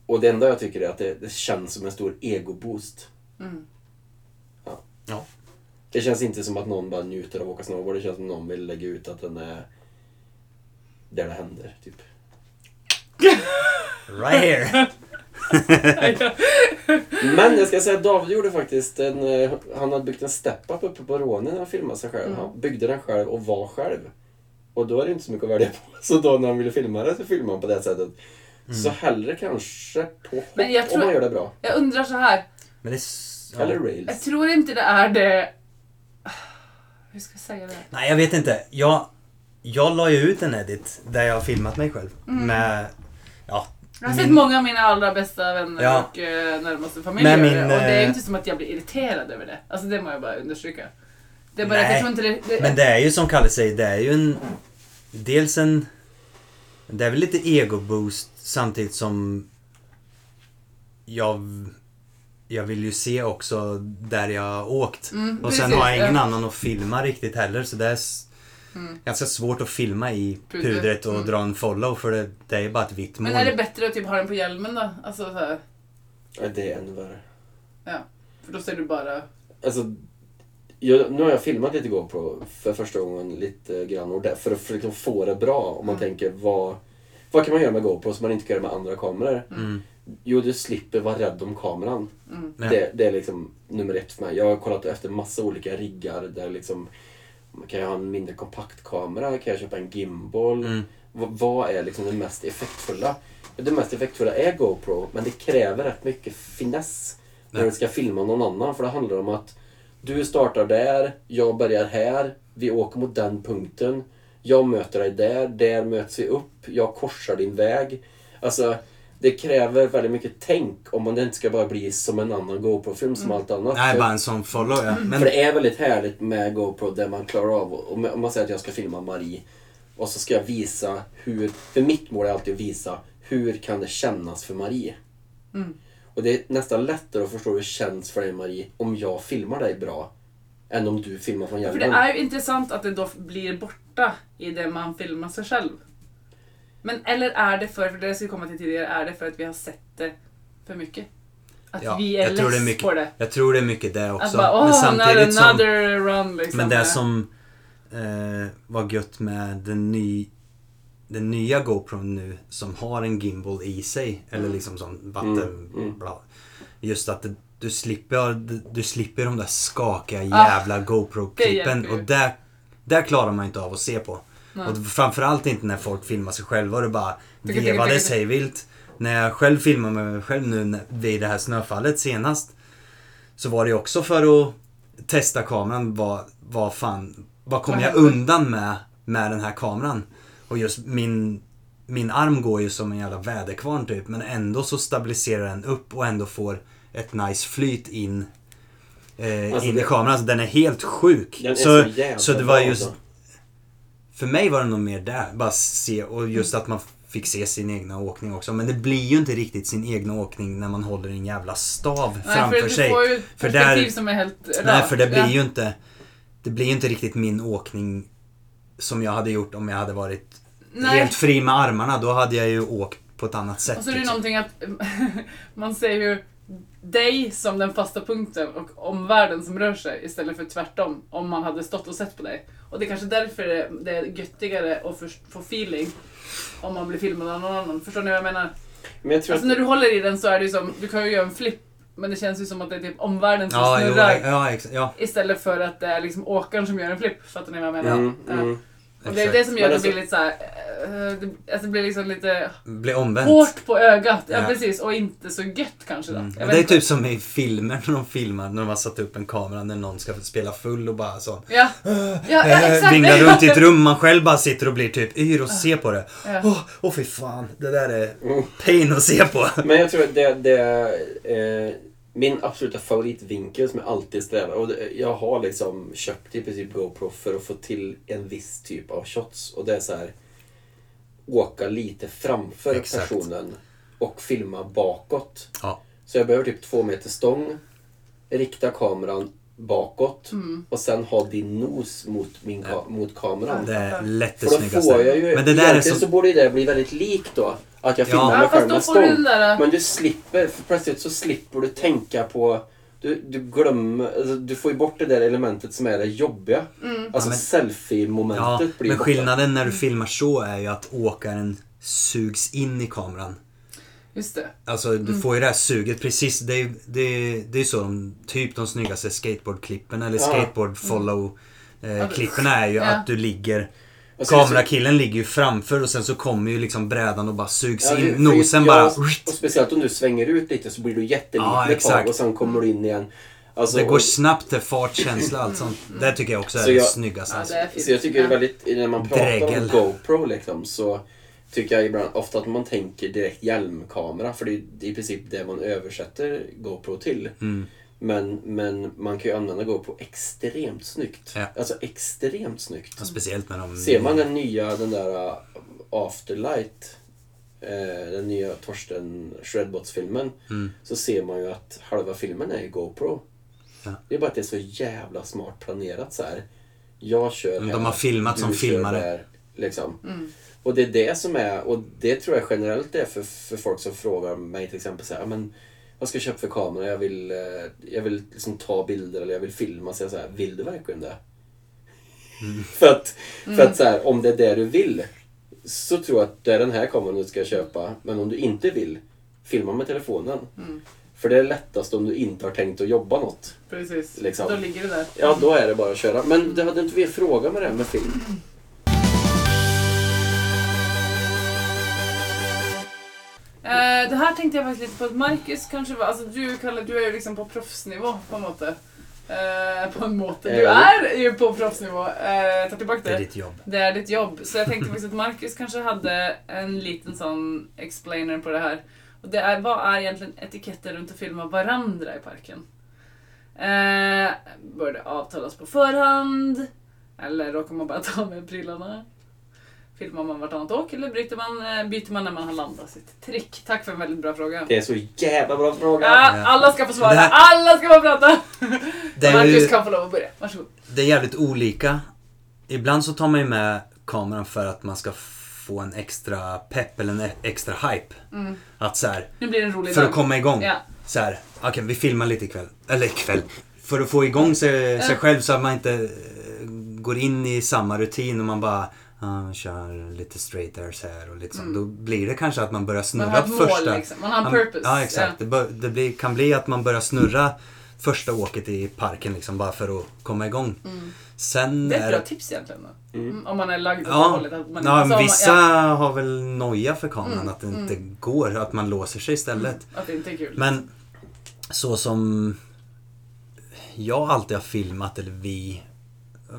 S3: Och det enda jag tycker är att det, det känns som en stor egoboost.
S1: Mm.
S2: Ja.
S3: Det känns inte som att någon bara njuter av att åka snowboard. Det känns som att någon vill lägga ut att den är där det händer. Typ.
S2: Right here!
S3: Men jag ska säga att David gjorde faktiskt en... eh, Han hade byggt en step-up uppe på Råne när han filmade sig själv.
S1: Mm.
S3: Han byggde den själv och var själv. Och då är det inte så mycket att välja på. Så då när han ville filma det så filmade han på det sättet.
S2: Mm.
S3: Så hellre kanske på hopp
S1: Men jag tror-
S3: om man gör det bra.
S1: Jag undrar så här.
S2: Men det... är s- Ja.
S3: Eller rails.
S1: Jag tror inte det är det... Hur ska jag säga det?
S2: Nej, jag vet inte. Jag, jag la ju ut en edit där jag har filmat mig själv. Med, ja,
S1: Jag har sett
S2: Min-
S1: många av mina allra bästa vänner
S2: Ja.
S1: och eh, närmaste familjer
S2: Men min,
S1: och det är ju
S2: eh,
S1: inte som att jag blir irriterad över det. Alltså det må jag bara understryka. Det är bara att jag
S2: Nej,
S1: tror inte det... det,
S2: men det är ju som Kalle säger, det är ju en... Dels en... Det är väl lite ego-boost samtidigt som jag, jag vill ju se också där jag har åkt.
S1: Mm,
S2: och sen
S1: precis,
S2: har jag ingen
S1: ja.
S2: annan att filma riktigt heller så det är s- ganska svårt att filma i
S1: Pudret,
S2: pudret och
S1: mm.
S2: dra en follow för det, det är ju bara ett vitt moln.
S1: men är det bättre att typ ha den på hjälmen då? Alltså så här,
S3: Ja, det är ännu värre.
S1: ja. För då ser du bara...
S3: Alltså, jag, nu har jag filmat lite GoPro för första gången lite grann och där, för att för liksom få det bra. Om man tänker vad, vad kan man göra med GoPro som man inte kan göra med andra kameror?
S2: Mm.
S3: Jo, du slipper vara rädd om kameran.
S1: Mm.
S2: Ja.
S3: Det, det är liksom nummer ett för mig. Jag har kollat efter massa olika riggar där liksom man kan jag ha en mindre kompaktkamera? Kan jag köpa en gimbal?
S2: Mm.
S3: V- vad är liksom det mest effektfulla? Det mest effektfulla är GoPro, men det kräver rätt mycket finess när
S2: Nej.
S3: du ska filma någon annan. För det handlar om att du startar där, jag börjar här, vi åker mot den punkten. Jag möter dig där, där möts vi upp, jag korsar din väg. Alltså, det kräver väldigt mycket tänk om man inte ska bara bli som en annan GoPro-film som allt annat.
S2: Mm. Nej,
S3: För-
S2: bara en sån follow ja.
S1: Mm.
S2: Men,
S3: för det är väldigt härligt med GoPro där man klarar av, om om man säger att jag ska filma Marie och så ska jag visa hur, för mitt mål är alltid att visa hur kan det kännas för Marie?
S1: Mm.
S3: Och det är nästan lättare att förstå hur det känns för dig Marie om jag filmar dig bra än om du filmar från
S1: För det
S3: hjälmen.
S1: är ju intressant att det då blir borta i det man filmar sig själv. Men eller är det för, för det ska vi komma till tidigare, är det för att vi har sett det för mycket? Att
S2: Ja,
S1: vi är
S2: jag tror det är
S1: less
S2: mycket-
S1: på det.
S2: jag tror det är mycket det
S1: Att
S2: också.
S1: bara
S2: men
S1: åh,
S2: samtidigt
S1: another,
S2: som...
S1: another run liksom.
S2: Men det som eh, var gött med den, ny, den nya GoPro nu som har en gimbal i sig, eller liksom sån vatten...
S3: Mm, mm.
S2: Bla, just att det, du, slipper, du slipper de där skakiga
S1: Ah,
S2: jävla GoPro-klippen.
S1: hjälper ju.
S2: Och där, där klarar man inte av att se på. Och framförallt inte när folk filmar sig själva och det bara
S1: Du kan tänka- tänka-
S2: vevades sig vilt. När jag själv filmar mig själv nu när- vid det här snöfallet senast. Så var det ju också för att testa kameran. Vad, vad fan, vad kommer
S1: Vad
S2: jag
S1: händer?
S2: undan med, med den här kameran? Och just min, min arm går ju som en jävla väderkvarn typ. Men ändå så stabiliserar den upp och ändå får ett nice flyt in, eh,
S3: Alltså
S2: in
S3: det-
S2: i kameran. Alltså, den är helt sjuk.
S3: Den är
S2: så,
S3: så jävla
S2: så det var
S3: bra alltså.
S2: just...
S3: då.
S2: För mig var det nog mer där, bara se och just att man fick se sin egna åkning också. Men det blir ju inte riktigt sin egna åkning när man håller en jävla stav
S1: Nej,
S2: framför
S1: för
S2: sig.
S1: Du får ju ett
S2: För
S1: perspektiv
S2: där-
S1: som är helt rakt.
S2: Nej, för det blir
S1: Ja.
S2: ju inte... Det blir ju inte riktigt min åkning som jag hade gjort om jag hade varit
S1: Nej.
S2: helt fri med armarna. Då hade jag ju åkt på ett annat sätt.
S1: Och så är det ju
S2: liksom.
S1: någonting att man ser ju dig som den fasta punkten och omvärlden som rör sig istället för tvärtom om man hade stått och sett på dig. Och det är kanske därför det- det är göttigare att först få feeling om man blir filmad av någon annan. Förstår ni vad jag menar?
S3: Men jag tror
S1: Alltså
S3: att
S1: när du håller i den så är det ju som, du kan ju göra en flipp men det känns ju som att det är typ omvärlden som
S2: Ja, jo,
S1: snurrar
S2: ja, exa- ja,
S1: istället för att det är liksom åkaren som gör en flipp. Fattar ni vad jag menar?
S3: Mm,
S1: Ja.
S3: mm.
S1: Och det är det
S2: exakt. alltså-
S1: som gör
S3: Men
S1: att det blir lite såhär, eh, det, alltså det blir liksom lite
S2: Bli omvänt.
S1: hårt på ögat. Ja,
S2: Ja.
S1: precis, och inte så gött kanske då.
S2: Mm.
S1: Jag
S2: Men
S1: vet
S2: Det är
S1: inte.
S2: typ som i filmer när de filmar, när de har satt upp en kamera när någon ska spela full och bara så.
S1: Ja, ja, ja
S2: Eh,
S1: exakt.
S2: Vinglar runt i ett rum, man själv bara sitter och blir typ yr och ser på det.
S1: Ja.
S2: Åh, åh fy fan, det där är pain att se på.
S3: Men jag tror att det, det är eh, min absoluta favoritvinkel som jag alltid strävar och det- Jag har liksom köpt i princip GoPro för att få till en viss typ av shots. Och det är så här. åka lite framför
S2: Exakt.
S3: personen och filma bakåt.
S2: Ja.
S3: Så jag behöver typ två meter stång, rikta kameran bakåt och sen ha din nos mot, min ka- mot kameran.
S2: Det är lätt det
S3: För då
S2: snyggaste.
S3: får jag ju...
S2: Men det där är
S3: egentligen så
S2: som...
S3: borde ju det bli väldigt likt då. Att jag
S2: Ja.
S3: filmar
S1: Ja,
S3: med
S1: fast då
S3: skärmen
S1: får du den
S3: stång.
S1: där...
S3: Men du slipper, för plötsligt så slipper du tänka på... Du, du glömmer, alltså, du får ju bort det där elementet som är det jobbiga.
S1: Mm.
S3: Alltså
S2: Ja, men- Ja,
S3: selfie-momentet blir
S2: men
S3: borta.
S2: skillnaden när du filmar så är ju att åkaren sugs in i kameran.
S1: Just det.
S2: Alltså du får ju det här suget precis. Det är, det är, det är så de, typ de snyggaste skateboardklippen eller
S3: Ja. Mm.
S2: skateboard follow eh,
S1: det-
S2: klippen är ju
S1: Ja.
S2: att du ligger
S3: Alltså, det är så-
S2: Kamerakillen ligger ju framför och sen så kommer ju liksom brädan och bara sugs
S3: Ja, det-
S2: in. Nosen
S3: för- ja,
S2: bara...
S3: Och speciellt om du svänger ut lite så blir du jättelik
S2: Ja,
S3: med ett tag
S2: exakt.
S3: och sen kommer du in igen. Alltså,
S2: Det går
S3: och- Mm.
S2: snabbt till fart, känsla, allt sånt. Det tycker jag också är
S3: Så
S2: det
S3: jag-
S2: snyggaste.
S1: Ja,
S2: alltså.
S1: det är fint.
S3: Så jag tycker det är väldigt, när man pratar
S2: Dregel.
S3: om GoPro liksom så tycker jag ibland ofta att man tänker direkt hjälmkamera för det är, det är i princip det man översätter GoPro till. Men, men man kan ju använda GoPro extremt snyggt.
S2: Ja. Alltså,
S3: Alltså extremt snyggt.
S2: Och Speciellt när de...
S3: Ser man den nya, den där uh, Afterlight, eh, den nya Torsten Shredbots-filmen, så ser man ju att halva filmen är GoPro.
S2: Ja.
S3: Det är bara att det är så jävla smart planerat så här. Jag kör
S2: De
S3: här,
S2: har filmat
S3: du
S2: som
S3: kör
S2: filmare.
S3: där, liksom. Och det är det som är, och det tror jag generellt är för, för folk som frågar mig till exempel så här, "Ah, men vad ska jag köpa för kamera? Jag vill, eh, jag vill liksom ta bilder eller jag vill filma. Så jag så här, vill du verkligen det?
S2: Mm.
S3: För att, för att så här, om det är det du vill så tror jag att det är den här kameran du ska köpa. Men om du inte vill, filma med telefonen. För det är lättast om du inte har tänkt att jobba något.
S1: Precis.
S3: Liksom.
S1: Då ligger det där.
S3: Ja, då är det bara att köra. Men det hade inte vi en fråga med det här med film?
S1: Eh, det här tänkte jag faktiskt lite på att Marcus kanske var, alltså du Kalle, du är ju liksom på proffsnivå på en måte. Eh, på en måte. Du
S3: Eh.
S1: är ju på proffsnivå. Eh, ta tillbaka
S2: Det är
S1: det.
S2: ditt jobb.
S1: Det är ditt jobb. Så jag tänkte faktiskt att Marcus kanske hade en liten sån explainer på det här. Och det är, vad är egentligen etiketter runt att filma varandra i parken? Eh, bör det avtalas på förhand? Eller råkar man bara ta med prylarna? Filmar man vartannat åk eller bryter man, eh, byter man när man har landat sitt trick? Tack för en väldigt bra fråga.
S3: Det är så jävla bra fråga!
S1: Ja, alla ska få svara,
S2: Det här-
S1: alla ska få prata!
S2: Det är ju-
S1: Marcus kan få lov att börja, varsågod.
S2: det är jävligt olika. Ibland så tar man ju med kameran för att man ska få en extra pepp eller en e- extra hype. Att så här,
S1: Nu blir det en rolig
S2: för
S1: dag.
S2: att komma igång.
S1: Mm. Ja.
S2: Så här, okej vi filmar lite ikväll. Eller ikväll. För att få igång sig, sig själv så att man inte eh, går in i samma rutin och man bara ah, kör lite straight airs här och lite sånt. Då blir det kanske att man börjar snurra
S1: Mm. Man har ett mål
S2: första.
S1: liksom. Man har en
S2: Ja,
S1: purpose.
S2: Ja, exakt. Det, bör, det blir, kan bli att man börjar snurra första åket i parken liksom bara för att komma igång. Sen
S1: Mm. Det är ett bra tips egentligen. Då. Mm. Om man är lagd åt det
S2: Ja,
S1: hållet. Att man,
S2: ja
S1: alltså, om
S2: men
S1: man-
S2: vissa
S1: ja, Mm,
S2: har väl noja för kameran att det inte går, att man låser sig istället.
S1: att det inte är kul.
S2: Men så som jag alltid har filmat, eller vi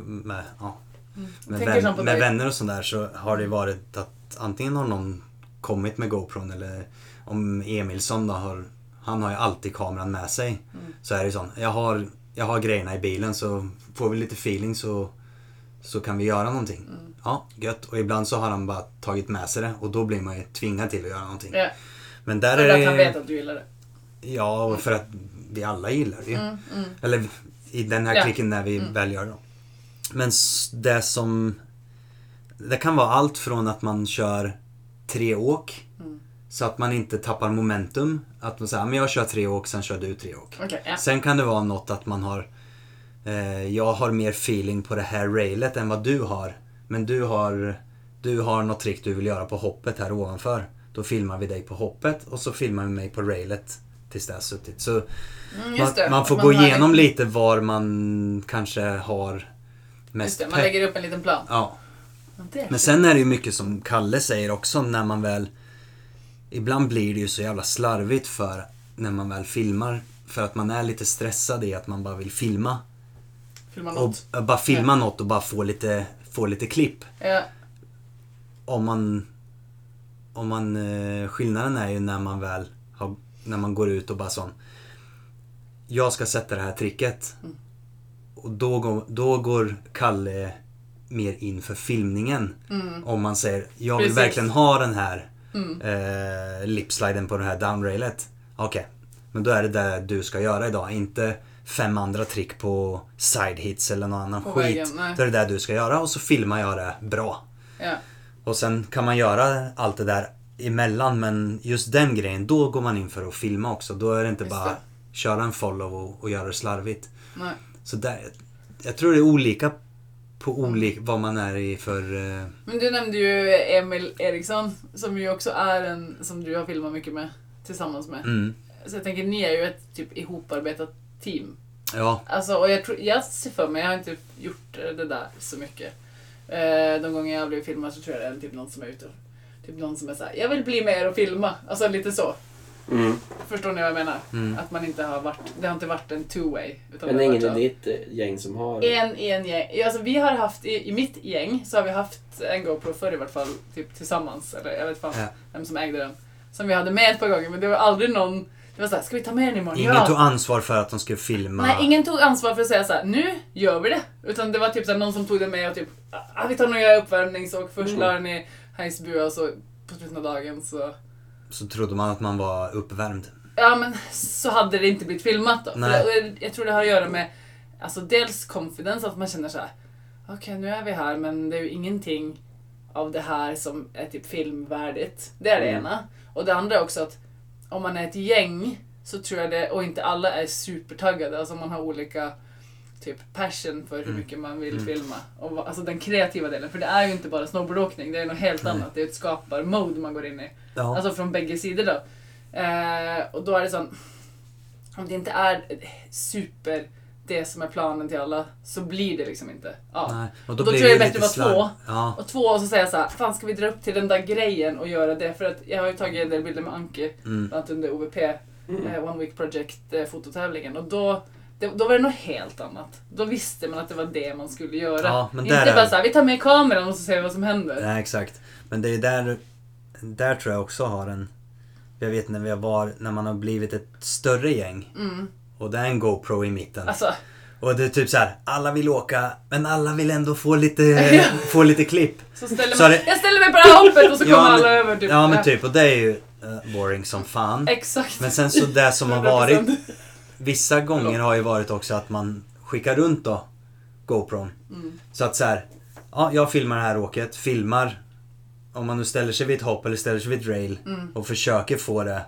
S2: med, ja, med,
S1: Mm. Tänker som på
S2: vän, med
S1: dig.
S2: vänner och sådär så har det varit att antingen har någon kommit med GoPron eller om Emilsson då har, han har ju alltid kameran med sig.
S1: Mm.
S2: Så är det ju sån, jag har, jag har grejerna i bilen så får vi lite feeling så, så kan vi göra någonting.
S1: Mm.
S2: Ja, gött. Och ibland så har han bara tagit med sig det och då blir man ju tvingad till att göra någonting.
S1: ja.
S2: Men där
S1: För
S2: är
S1: att
S2: det...
S1: han vet att du gillar det.
S2: Ja, och för att vi alla gillar det ju. Eller i den här
S1: Ja.
S2: klicken när vi väl gör det. Men s- det som... Det kan vara allt från att man kör tre åk. Så att man inte tappar momentum. Att man säger, men jag kör tre åk, sen kör du tre åk.
S1: Okej, ja.
S2: Sen kan det vara något att man har... Eh, jag har mer feeling på det här railet än vad du har. Men du har, du har något trick du vill göra på hoppet här ovanför. Då filmar vi dig på hoppet och så filmar vi mig på railet tills det har suttit. Så
S1: Mm,
S2: man,
S1: just det,
S2: man
S1: att
S2: får gå
S1: har- liksom-
S2: igenom lite var man kanske har
S1: Just
S2: mest
S1: det, man
S2: pepp.
S1: lägger upp en liten plan.
S2: Ja.
S1: Ja, Det.
S2: Men sen är det ju mycket som Kalle säger också när man väl... Ibland blir det ju så jävla slarvigt för när man väl filmar. För att man är lite stressad i att man bara vill filma.
S1: Filmar
S2: Och
S1: något.
S2: bara filma något och bara få lite, få lite klipp.
S1: Ja,
S2: Om man... Om man... eh, Skillnaden är ju när man väl har, När man går ut och bara sån...
S1: Mm.
S2: Jag ska sätta det här tricket. Och då, går- då går Kalle mer inför filmningen.
S1: Mm.
S2: Om man säger, jag vill
S1: Precis.
S2: verkligen ha den här
S1: Mm.
S2: eh, lipsliden på det här downrailet. Okej, men då är det det du ska göra idag. Inte fem andra trick på side hits eller någon annan
S1: På
S2: skit.
S1: vägen, nej.
S2: Då är det det du ska göra och så filmar jag det bra.
S1: Ja.
S2: Och sen kan man göra allt det där emellan men just den grejen, då går man in för att filma också. Då är det inte
S1: Just
S2: bara
S1: det.
S2: köra en follow och, och göra det slarvigt.
S1: Nej.
S2: Så där, jag tror det är olika på olika, vad man är i för... eh,
S1: Men du nämnde ju Emil Eriksson som ju också är en som du har filmat mycket med tillsammans med.
S2: mm,
S1: Så jag tänker ni är ju ett typ ihoparbetat team.
S2: ja,
S1: Alltså, och jag, tror, jag ser för mig, jag har inte gjort eh, det där så mycket. Eh, de gånger jag har blivit filmad så tror jag det är typ någon som är ute och, Typ någon som är såhär, jag vill bli med er och filma. Alltså lite så.
S3: Mm.
S1: Förstår ni vad jag menar?
S2: Mm.
S1: Att man inte har varit, det har inte varit en two way. Utan
S3: Men
S1: det
S3: det
S1: har
S3: är
S1: varit
S3: ingen
S1: så-
S3: i ditt eh, gäng som har...
S1: en i en gäng. Alltså, vi har haft, i, i mitt gäng så har vi haft en GoPro förr i vart fall, typ tillsammans. Eller jag vet fan
S2: Ja.
S1: vem som ägde den. Som vi hade med ett par gånger men det var aldrig någon, det var såhär, ska vi ta med den imorgon?
S2: ingen
S1: Ja.
S2: tog ansvar för att de skulle filma.
S1: Nej, ingen tog ansvar för att säga såhär, nu gör vi det. Utan det var typ såhär, någon som tog det med och typ, ah, vi tar några uppvärmnings och först
S3: Mm.
S1: la den i Heisbua och så på slutet av dagen så
S2: Så trodde man att man var uppvärmd.
S1: Ja men så hade det inte blivit filmat då. För
S2: Nej.
S1: det- Jag tror det har att göra med alltså, dels confidence, att man känner så här. Okej nu är vi här men det är ju ingenting av det här som är typ filmvärdigt. Det är det
S3: Mm.
S1: ena. Och det andra är också att om man är ett gäng så tror jag det, och inte alla är supertaggade, alltså man har olika typ passion för hur
S2: Mm.
S1: mycket man vill
S2: Mm.
S1: filma. Och, vad- alltså den kreativa delen, för det är ju inte bara snowboardåkning, det är något helt
S2: Nej.
S1: annat. Det är ett skaparmode man går in i.
S2: Ja,
S1: Alltså från bägge sidor då. Eh, och då är det sån, om det inte är super det som är planen till alla så blir det liksom inte. Ja.
S2: nej. Och
S1: då tror jag det är
S2: lite
S1: bättre att vara
S2: slarv- Ja,
S1: Och två, och så säger jag så här, fan ska vi dra upp till den där grejen och göra det? För att jag har ju tagit en del bilder med Anki,
S2: mm,
S1: bland annat under OVP,
S3: Mm.
S1: eh, One Week Project eh, fototävlingen. Och då, det, då var det något helt annat. Då visste man att det var det man skulle göra.
S2: Ja, men där
S1: inte
S2: är
S1: bara
S2: det.
S1: så här, vi tar med kameran och så ser vi vad som händer.
S2: nej, exakt. Men det är där, där tror jag också har en... Jag vet när vi var, när man har blivit ett större gäng
S1: Mm.
S2: och det är en GoPro i mitten.
S1: Alltså,
S2: Och det är typ så här, alla vill åka men alla vill ändå få lite, få lite klipp.
S1: så ställer
S2: Så
S1: man,
S2: det-
S1: jag ställer mig på det här hoppet och så
S2: Ja,
S1: kommer alla
S2: men-
S1: över. Typ.
S2: Ja men
S1: Ja.
S2: typ och det är ju eh, boring som fan.
S1: Exakt.
S2: Men sen så det som har varit,
S1: 100%.
S2: vissa gånger har ju varit också att man skickar runt då GoPron.
S1: Mm.
S2: Så att så här, ja jag filmar det här åket, filmar om man nu ställer sig vid ett hopp eller ställer sig vid ett rail
S1: Mm.
S2: och försöker få det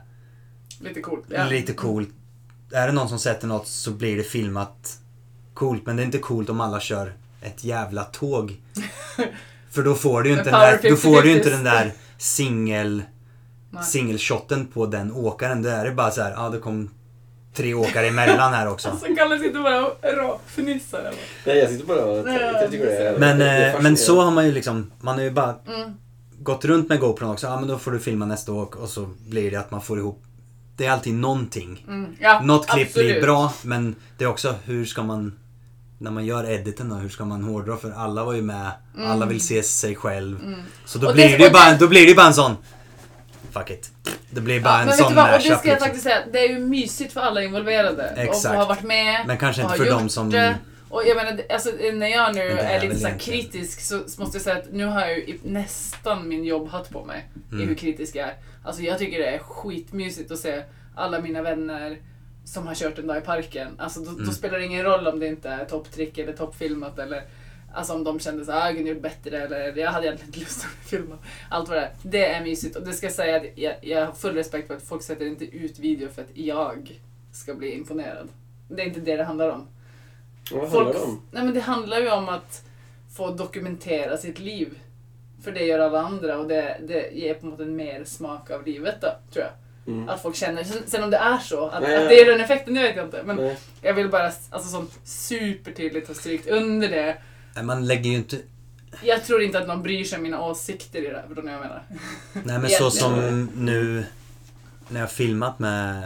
S1: Lite coolt. Ja.
S2: lite coolt. Är det någon som sätter något så blir det filmat coolt. Men det är inte coolt om alla kör ett jävla tåg. För då får du ju
S1: Men
S2: inte den där,
S1: power
S2: då får du ju inte
S1: 50-50s.
S2: den där singel,
S1: Nej.
S2: singelshotten på den åkaren. Då är det bara så här, ja det kom tre åkare emellan här också.
S1: Alltså Kalle sitter bara och råfnissar. eller?
S3: Nej, jag sitter bara och
S1: Nej,
S3: jag tycker det är...
S2: Men,
S3: det är
S2: eh, men så
S3: fascinerande.
S2: har man ju liksom, man har ju bara
S1: Mm.
S2: gått runt med GoPron också. Ja men då får du filma nästa åk och så blir det att man får ihop, det är alltid någonting.
S1: Mm. Ja,
S2: Något klipp blir
S1: absolut.
S2: bra, men det är också hur ska man... När man gör editen då, hur ska man hårdra? För alla var ju med, alla vill se sig själv.
S1: Mm.
S2: Så då
S1: Och
S2: blir,
S1: det-
S2: det, ju
S1: och det-
S2: bara, då blir det ju bara en sån... Fuck it. Det blir bara
S1: Ja, men
S2: en
S1: vet
S2: sån
S1: du vad, och det
S2: mashup,
S1: ska jag
S2: liksom.
S1: faktiskt säga, det är ju mysigt för alla involverade. Och
S2: Exakt.
S1: har varit med.
S2: Men kanske
S1: och
S2: inte
S1: har
S2: för dem
S1: gjort
S2: som-
S1: det. Och jag menar, alltså, när jag nu
S2: Men det
S1: är,
S2: är
S1: lite
S2: väl
S1: så här
S2: egentligen-
S1: kritisk så, så måste jag säga att nu har jag ju i- nästan min jobbhatt på mig. I
S2: Mm.
S1: hur kritisk jag är. Alltså jag tycker det är skitmysigt att se alla mina vänner som har kört en dag i parken. Alltså då, då
S2: Mm.
S1: spelar det ingen roll om det inte är topptrick eller toppfilmat eller Alltså om de kände såhär, ah, jag kunde gjort bättre eller jag hade egentligen inte lust att filma. Allt vad det är. Det är mysigt och det ska jag säga att jag, jag har full respekt för att folk sätter inte ut video för att jag ska bli imponerad. Det är inte det det handlar om.
S3: Vad handlar
S1: Folk,
S3: det om?
S1: nej men det handlar ju om att få dokumentera sitt liv. För det gör alla andra och det, det ger på något sätt mer smak av livet då, tror jag.
S3: Mm.
S1: Att folk känner, sen, sen om det är så, att,
S3: Nej.
S1: att det är den effekten, det vet jag inte. Men
S3: Nej.
S1: jag vill bara alltså, som supertydligt ha strykt under det.
S2: Nej, Man lägger ju inte...
S1: Jag tror inte att någon bryr sig om mina åsikter i det här, förstår ni vad jag menar?
S2: Nej men så som
S3: Egentligen.
S2: nu när jag har filmat med...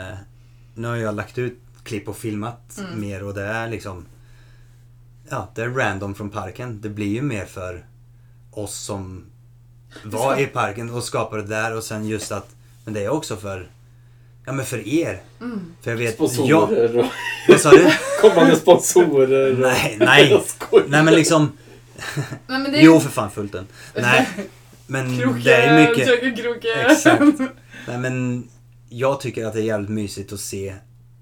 S2: Nu har jag lagt ut klipp och filmat
S1: Mm.
S2: mer och det är liksom... Ja, det är random från parken. Det blir ju mer för oss som var i parken och skapade det där och sen just att... Men det är också för... Ja men för er.
S1: Mm.
S2: För jag vet... Jag,
S3: Sponsorer och
S2: vad sa du?
S3: kommande sponsorer. och-
S2: Nej, nej.
S3: Jag skojar.
S2: Nej men liksom,
S1: Nej, men det är...
S2: Jo för fan Fulten. Nej, men
S1: krokiga,
S2: det är mycket...
S1: Försöker krokiga.
S2: Exakt. Nej men jag tycker att det är jävligt mysigt att se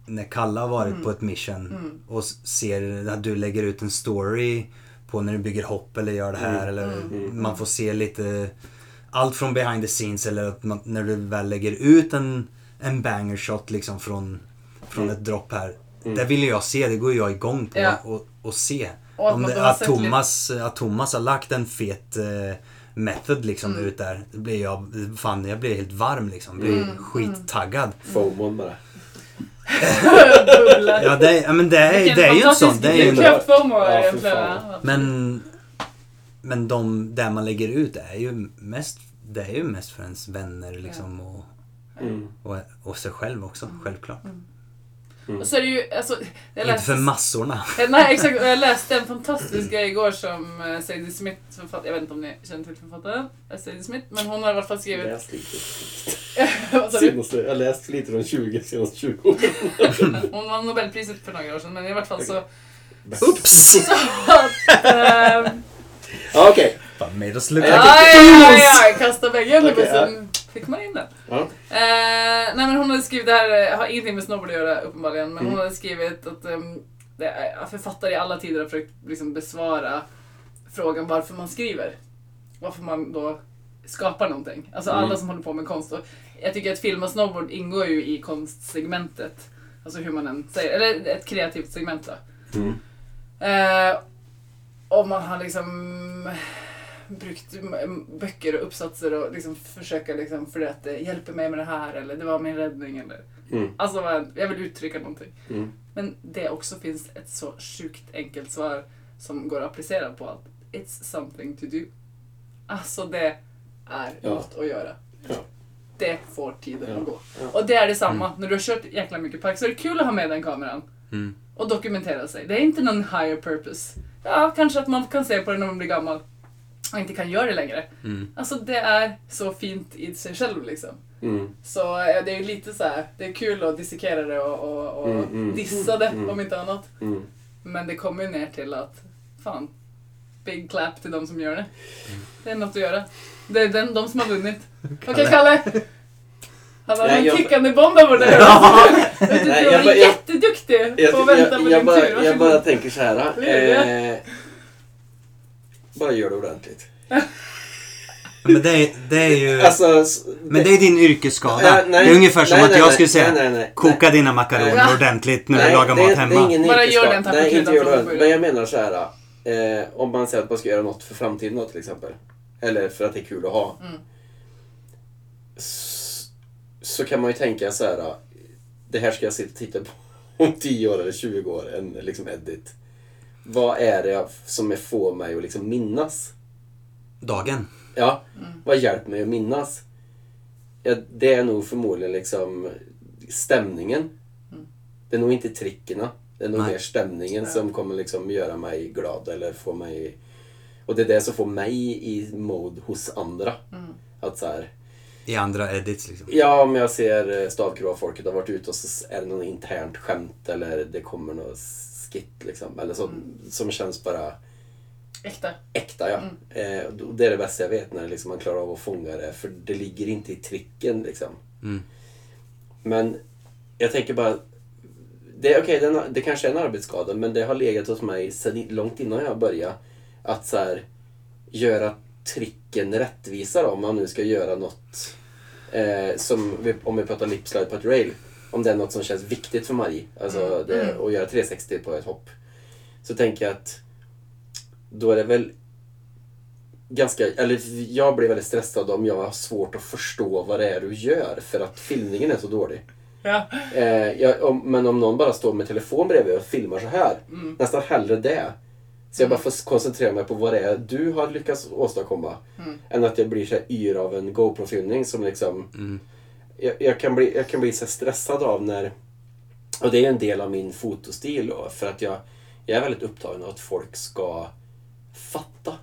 S2: när Kalle har varit
S1: Mm.
S2: på ett mission
S1: Mm.
S2: och s- ser att du lägger ut en story på när du bygger hopp eller gör det här
S3: Mm.
S2: eller
S3: Mm.
S2: man får se lite allt från behind the scenes eller att man, när du väl lägger ut en, en banger shot liksom från, från
S3: Mm.
S2: ett dropp här.
S3: Mm.
S2: Det vill jag se, det går jag igång på
S1: Ja.
S2: och, och se.
S1: Och att
S2: Om
S1: man då
S2: det,
S1: har
S2: att,
S1: sett lite-
S2: Thomas, att Thomas har lagt en fet eh, method liksom
S1: Mm.
S2: ut där. Det blir jag, fan jag blir helt varm liksom. Blir
S1: Mm.
S2: skittaggad.
S3: Fomon bara.
S1: Bubblar.
S2: Ja, det, är- ja men det är,
S1: Vilken
S2: det är ju en
S1: fantastisk
S2: sån. Det är ju en,
S3: drivkraft.
S1: kraftform har
S3: Ja,
S1: jag
S3: för
S1: egentligen.
S3: fan.
S1: Ja.
S2: men men de, där man lägger ut det är ju mest, det är ju mest för ens vänner liksom och,
S3: Mm.
S2: och, och sig själv också,
S1: Mm.
S2: självklart.
S1: Och så är det ju, alltså, jag
S2: Inte
S1: läste,
S2: för massorna.
S1: Eh, nej, exakt, Och jag läste en fantastisk grej igår som eh, Sadie Smith, författare, jag vet inte om ni känner till författaren, eh, Sadie Smith, men hon har i alla fall skrivit...
S3: Läst lite.
S1: Vad sa du?
S3: Senaste, Alltså, jag har läst lite de 20 senaste 20 åren.
S1: Hon vann Nobelpriset för några år sedan, men i vart fall så...
S2: Oops!
S1: Ehm,
S3: Ja, Okej.
S2: Fan, made us
S1: aj,
S2: look like
S1: aj, aj, kasta bägge under
S3: Okej,
S1: bussen. Fick man in den?
S3: Ja.
S1: Eh, nej men hon hade skrivit det här, eh, har ingenting med snobbel att göra uppenbarligen, men hon
S3: Mm.
S1: hade skrivit att ehm, det är, författare i alla tider har försökt liksom, besvara frågan varför man skriver. Varför man då skapar någonting. Alltså alla
S3: Mm.
S1: som håller på med konst. Och jag tycker att film och snowboard ingår ju i konstsegmentet. Alltså hur man än säger, eller ett kreativt segment då.
S3: Mm.
S1: Eh, om man har liksom brukt m- böcker och uppsatser och liksom försöka liksom för att det hjälper mig med det här eller det var min räddning eller
S3: Mm.
S1: alltså vad- jag vill uttrycka någonting.
S3: Mm.
S1: Men det också finns ett så sjukt enkelt svar som går att applicera på allt. It's something to do. Alltså det är
S3: Ja.
S1: något att göra.
S3: Ja.
S1: Det får tiden
S3: Ja.
S1: att gå.
S3: Ja. Mm.
S1: Och det är detsamma när du har kört jäkla mycket pack så är det kul att ha med den kameran
S2: Mm.
S1: och dokumentera sig. Det är inte någon higher purpose. Ja, kanske att man kan se på det när man blir gammal och inte kan göra det längre.
S2: Mm.
S1: Alltså det är så fint i sig själv liksom.
S3: Mm.
S1: Så eh, det är lite så här, det är kul att dissekera det och, och, och
S3: Mm, mm.
S1: dissa det
S3: Mm.
S1: om inte annat.
S3: Mm.
S1: Men det kommer ju ner till att, fan, big clap till de som gör det.
S3: Mm.
S1: Det är något att göra. Det är den, de som har vunnit. Okej Kalle! Han har
S3: Nej,
S1: en
S3: jag-
S1: tickande bomb över dig. Du
S3: Nej,
S1: var
S3: jag bara- jag-
S1: jätteduktig på
S3: Jag,
S1: att vänta
S3: jag,
S1: på
S3: jag,
S1: din
S3: bara,
S1: tur.
S3: jag bara
S1: Varsågod.
S3: tänker så här.
S1: Lydia.
S3: Eh, bara gör det ordentligt.
S2: Men det, är- det är ju...
S3: Alltså, s-
S2: Men det är din yrkesskada.
S3: Nej, nej.
S2: det är ungefär som
S3: Nej,
S2: att
S3: nej,
S2: jag
S3: nej.
S2: skulle säga
S3: Nej, nej, nej.
S2: koka dina makaroner
S1: Nej.
S2: ordentligt när du
S3: Nej,
S2: lagar
S3: det är-
S2: mat
S3: Det är
S2: hemma.
S3: ingen
S1: Bara
S3: yrkesskada.
S1: gör den här
S3: Nej, inte
S1: profilen
S3: gör
S1: från
S3: den.
S1: början.
S3: Men jag menar så här. Eh, om man säger att man ska göra något för framtiden då, till exempel. Eller för att det är kul att ha.
S1: Mm.
S3: S- Så kan man ju tänka så här. Det här ska jag sitta och titta på om 10 år eller 20 år. En liksom edit. Vad är det jag- som jag får mig att liksom minnas?
S2: Dagen.
S3: Ja, vad hjälper mig att minnas? Ja, det är nog förmodligen liksom stämningen. Det är nog inte trickerna. Det är nog
S2: Nej.
S3: mer stämningen som kommer liksom göra mig glad eller få mig... Och det är det som får mig i mode hos andra. Att så här,
S2: I andra edits liksom.
S3: ja om jag ser stavkroa folket har varit ute och så är det någon internt skämt eller det kommer något skit liksom. Eller så, som känns bara
S1: Äkta.
S3: äkta ja.
S1: Mm.
S3: Eh, och då- det är det bästa jag vet när liksom man klarar av att fånga det för det ligger inte i tricken liksom.
S2: Mm.
S3: Men jag tänker bara, det, är okej, det, är en- det kanske är en arbetsskada men det har legat hos mig sedan i- långt innan jag började att så här, göra tricken rättvisa då, om man nu ska göra något eh, som, vi, om vi pratar lipslide på ett rail, om det är något som känns viktigt för Marie, alltså
S1: Mm.
S3: det,
S1: Mm.
S3: att göra 360 på ett hopp, så tänker jag att då är det väl ganska, eller jag blir väldigt stressad om jag har svårt att förstå vad det är du gör för att filmningen är så dålig.
S1: Ja.
S3: Eh, jag, om, men om någon bara står med telefon bredvid och filmar så här, nästan hellre det. Så jag bara får s- koncentrera mig på vad det är du har lyckats åstadkomma. Än att jag blir så här yr av en GoPro-filmning som liksom... Jag, jag, kan bli, jag kan bli så här stressad av när... Och det är en del av min fotostil då, för att jag, jag är väldigt upptagen av att folk ska fatta.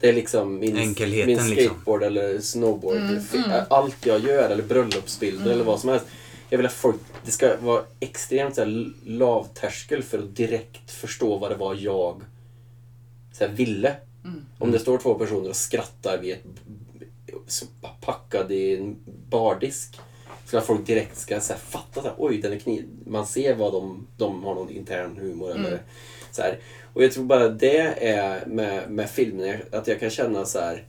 S3: Det är liksom min,
S2: Enkelheten
S3: min
S2: liksom.
S3: skateboard eller snowboard. fi- Allt jag gör eller bröllopsbilder eller vad som helst. Jag vill att folk, det ska vara extremt så här, lavtärskel för att direkt förstå vad det var jag så här, ville.
S1: Mm.
S3: Om det står två personer och skrattar vid ett så packad i en bardisk så att folk direkt ska så här, fatta så här, oj den är kniv. Man ser vad de, de har någon intern humor eller
S1: Mm.
S3: så här. Och jag tror bara det är med, med filmen, att jag kan känna så här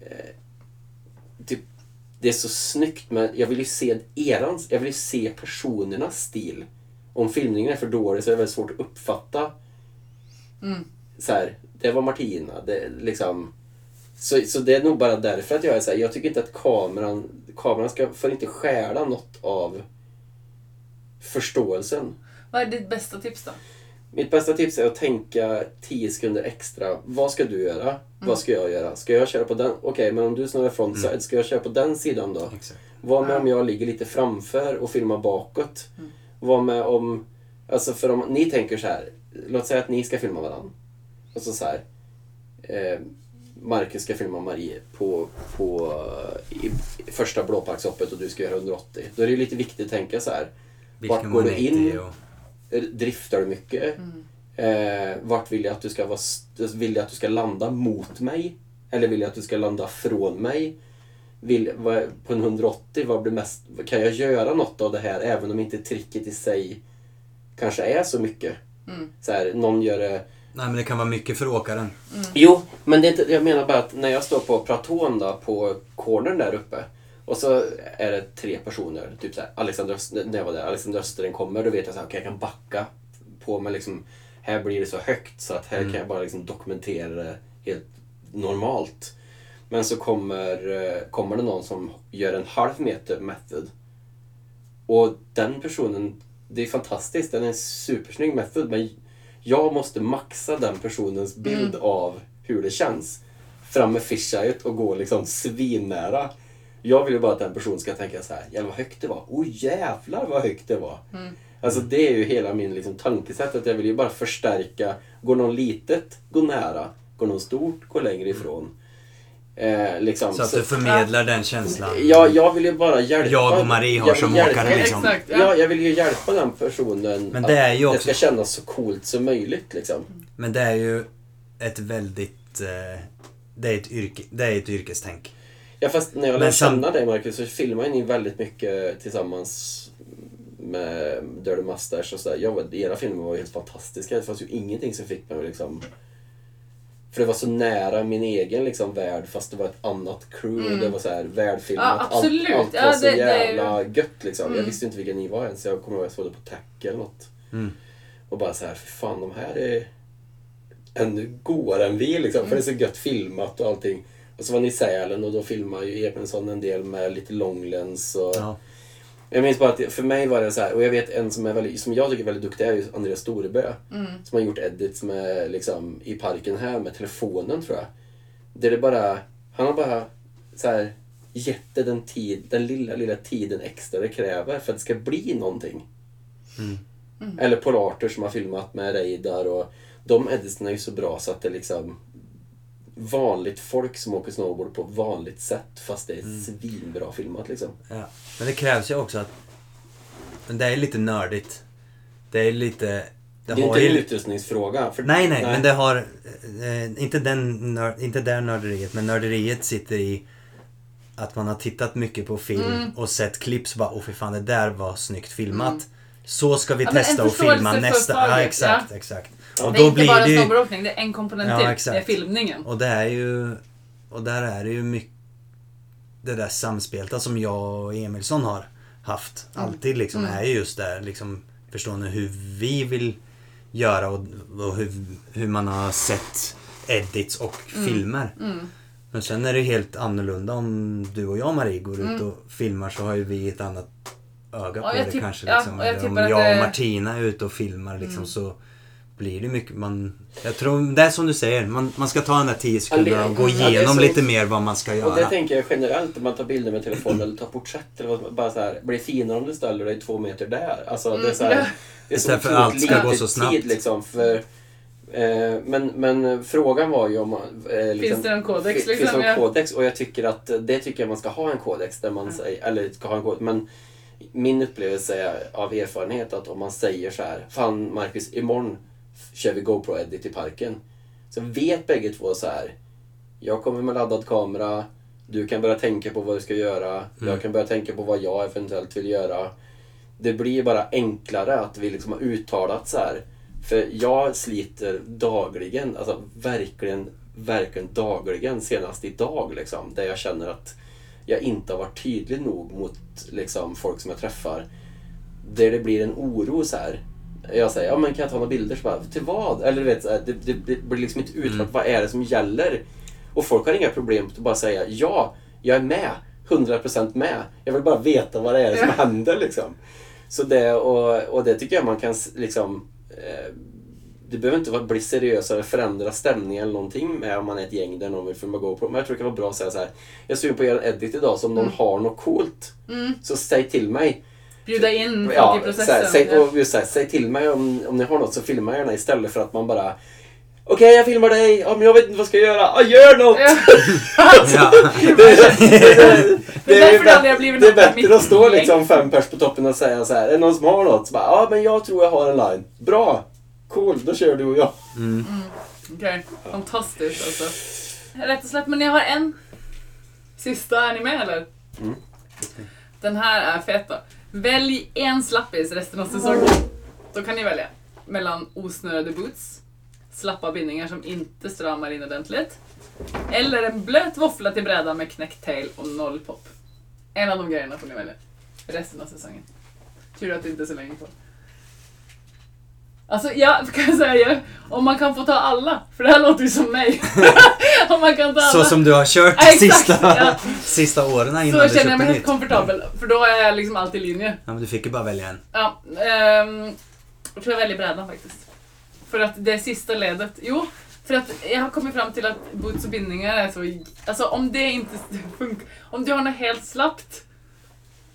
S3: eh, typ, det är så snyggt men jag vill ju se erans, jag vill ju se personernas stil. Om filmningen är för dålig så är det väldigt svårt att uppfatta
S1: Mm.
S3: så här, det var Martina. Det, liksom, så, så det är nog bara därför att jag är så här, jag tycker inte att kameran, kameran ska, får inte stjäla något av förståelsen.
S1: Vad är ditt bästa tips då?
S3: Mitt bästa tips är att tänka 10 sekunder extra. Vad ska du göra? Vad ska jag göra? Ska jag köra på den? Okej, men om du snurrar frontside, ska jag köra på den sidan då?
S2: Exakt.
S3: Var med om jag ligger lite framför och filmar bakåt. Var med om... Alltså för om ni tänker så här. Låt säga att ni ska filma varandra. Och så så här. Eh, Marcus ska filma Marie på, på i första blåparkshoppet och du ska göra 180. Då är det ju lite viktigt att tänka så här.
S2: Vilken
S3: Vart går
S2: man
S3: du
S2: är
S3: in?
S2: i och...
S3: Eh, Driftar du mycket? Eh, vart vill jag att du ska vara... st- Vill jag att du ska landa mot mig? Eller vill jag att du ska landa från mig? Vill, vad, på en 180, vad blir mest... Kan jag göra något av det här även om inte tricket i sig kanske är så mycket?
S1: Mm.
S3: Så här, någon gör det...
S2: Nej men det kan vara mycket för åkaren.
S3: Jo, men det är inte, jag menar bara att när jag står på platån då, på cornern där uppe och så är det tre personer, typ så här, Alexander Öster, när jag var där, Alexander Östergren kommer, då vet jag så här, okej jag kan backa på mig liksom, här blir det så högt så att här kan jag bara liksom dokumentera det helt normalt. Men så kommer, eh, kommer det någon som gör en halv meter method och den personen, det är fantastiskt, den är en supersnygg method men jag måste maxa den personens bild av hur det känns. Fram med fisheyet och gå liksom svinnära. Jag vill ju bara att den personen ska tänka så här, jävlar vad högt det var. Oj jävlar vad högt det var. Alltså det är ju hela min liksom, tankesätt att jag vill ju bara förstärka, går någon litet, gå nära. Går någon stort, gå längre ifrån. Eh, liksom,
S2: Så att
S3: så-
S2: du förmedlar den känslan.
S3: jag, jag vill ju bara hjälpa.
S2: Jag och Marie har
S3: Jag vill
S2: som
S3: hjälpa-
S2: åkare liksom.
S1: Exakt, ja.
S3: Ja, jag vill ju hjälpa den personen
S2: Men det är ju
S3: att
S2: också-
S3: det ska kännas så coolt som möjligt. Liksom.
S2: Men det är ju ett väldigt... Eh, det, är ett yrke, det är ett yrkestänk.
S3: Ja, fast när jag
S2: Men
S3: lärde
S2: sam-
S3: känna dig Marcus så filmade ni väldigt mycket tillsammans med Dirty Mustache och sådär. Jag var, era filmer var ju helt fantastiska. Det fanns ju ingenting som fick mig att liksom... För det var så nära min egen liksom, värld fast det var ett annat crew och det var så här välfilmat.
S1: Mm. Ja, absolut.
S3: Allt, allt var
S1: Ja,
S3: så
S1: det- det är ju- Mm.
S3: jävla gött liksom. Jag visste inte vilka ni var ens. Jag kommer ihåg att jag såg det på Tack eller något.
S2: Mm.
S3: Och bara så här, för fan de här är ännu godare än vi liksom. För det är så gött filmat och allting. Och så var ni i Sälen och då filmade ju Ebensson en del med lite långlens och...
S2: Ja.
S3: Jag minns bara att det- för mig var det så här, och jag vet en som, är väldigt, som jag tycker är väldigt duktig är ju Andreas Storebø. Som har gjort edits med, liksom, i parken här med telefonen tror jag. Där det bara, han har bara så här, gett det den, tid, den lilla, lilla tiden extra det kräver för att det ska bli någonting. Eller Polarter som har filmat med Reidar och de editsen är ju så bra så att det liksom vanligt folk som åker snowboard på vanligt sätt fast det är svinbra filmat liksom.
S2: Ja. Men det krävs ju också att... Men det är lite nördigt. Det är lite...
S3: Det är inte en utrustningsfråga. För,
S2: Nej, nej, men det har... Eh, inte, den nör, inte där nörderiet, men nörderiet sitter i att man har tittat mycket på film
S1: Mm.
S2: och sett klipp så bara åh fy fan det där var snyggt filmat. Så ska vi
S1: Ja, men en
S2: testa och
S1: förståelse
S2: filma
S1: för
S2: nästa. Ja,
S1: taget,
S2: exakt, exakt. Och
S1: det är
S2: då
S1: inte bara
S2: blir det ju...
S1: snowboardåkning, det är en komponent
S2: Ja,
S1: till.
S2: exakt.
S1: Det är filmningen.
S2: Och det är ju... Och där är det ju mycket... Det där samspelta som jag och Emilsson har haft.
S1: Mm.
S2: Alltid liksom är ju just där liksom förstående hur vi vill göra och, och hur, hur man har sett edits och
S1: Mm.
S2: filmer. Men sen är det helt annorlunda om du och jag Marie går ut och filmar så har ju vi ett annat öga på
S1: jag
S2: det
S1: tipp-
S2: kanske.
S1: Mm. ja,
S2: Liksom.
S1: och jag
S2: Eller om
S1: tippar att
S2: jag och
S1: det-
S2: Martina är ute och filmar liksom, så blir det mycket. Man, jag tror, det är som du säger, man, man ska ta den där 10 sekunderna och gå
S3: Ja, det är
S2: igenom
S3: så.
S2: lite mer vad man ska
S3: Och det
S2: göra.
S3: tänker jag generellt om man tar bilder med telefon eller tar porträtt. Eller vad, som- bara så här, blir det finare om du ställer dig två meter där. Alltså, det är så här, det är så
S2: Istället för
S3: otroligt
S2: allt ska gå
S3: lite
S2: så snabbt.
S3: Tid, liksom, för, eh, men, men frågan var ju om... man, Eh, liksom,
S1: Finns det någon kodex,
S3: fin-
S1: liksom?
S3: Finns det någon
S1: Ja.
S3: kodex? Och jag tycker att eh, det tycker jag man ska ha en kodex. Där man säger, eller ska ha en kodex, men min upplevelse är, av erfarenhet att om man säger så här, fan Marcus, imorgon f- kör vi GoPro-edit i parken. Så vet bägge två så här. Jag kommer med laddad kamera. Du kan börja tänka på vad du ska göra. Jag kan börja tänka på vad jag eventuellt vill göra. Det blir bara enklare att vi liksom har uttalat så här. För jag sliter dagligen, alltså verkligen, verkligen dagligen senast idag liksom. Där jag känner att jag inte har varit tydlig nog mot liksom, folk som jag träffar. Där det blir en oro så här. Jag säger, ja men kan jag ta några bilder? Så bara, till vad? Eller du vet, så här, det, det, det blir liksom inte utrett, vad är det som gäller? Och folk har inga problem att bara säga, ja, jag är med, 100% med. Jag vill bara veta vad det är som
S1: Ja.
S3: händer liksom. Så det, och, och det tycker jag man kan s- liksom eh, det behöver inte vara- bli seriösare, förändra stämningen eller någonting med om man är ett gäng där någon vill filma GoPro. Men jag tror det kan vara bra att säga så här. Jag ser på er edit idag, så om någon har något coolt, så säg till mig.
S1: Bjuda in Mm. folk
S3: Ja,
S1: i
S3: så här,
S1: processen.
S3: säg,
S1: Ja.
S3: och just så här, säg till mig om, om ni har något så filma gärna istället för att man bara Okej, jag filmar dig. Ja, men jag vet inte vad jag ska göra. Ja, gör något!
S1: Ja.
S2: Ja.
S3: Det, är- det,
S1: Det är därför
S3: är
S1: det
S3: bättre-
S1: aldrig har blivit
S3: det är
S1: något av mitt
S3: bättre att stå
S1: gäng.
S3: liksom fem pers på toppen och säga så här. Är det någon som har något? Så bara, ja, men jag tror jag har en line. Bra! Cool, då kör du och jag.
S1: Okej, fantastiskt alltså. Rätt och slätt, men jag har en sista. Är ni med eller?
S2: Mm.
S1: Den här är fet då. Välj en slappis resten av säsongen. Då kan ni välja mellan osnörade boots, slappa bindningar som inte stramar in ordentligt, eller en blöt våffla till bräda med knäckt tail och noll pop. En av de grejerna får ni välja resten av säsongen. Tur att det inte är så länge kvar. Alltså jag kan säga, om man kan få ta alla, för det här låter ju som mig. om man kan ta alla.
S2: Så som du har kört
S1: Ja,
S2: de
S1: exakt,
S2: sista,
S1: ja.
S2: sista åren innan
S1: Så
S2: du
S1: känner
S2: köpte
S1: jag mig helt
S2: nytt. Mm.
S1: komfortabel, för då är jag liksom alltid i linje.
S2: Ja, men du fick ju bara välja en.
S1: Ja, ehm, jag tror jag väljer brädan faktiskt. För att det sista ledet, jo, för att jag har kommit fram till att boots och bindningar är så... Alltså om det inte funkar, om du har något helt slappt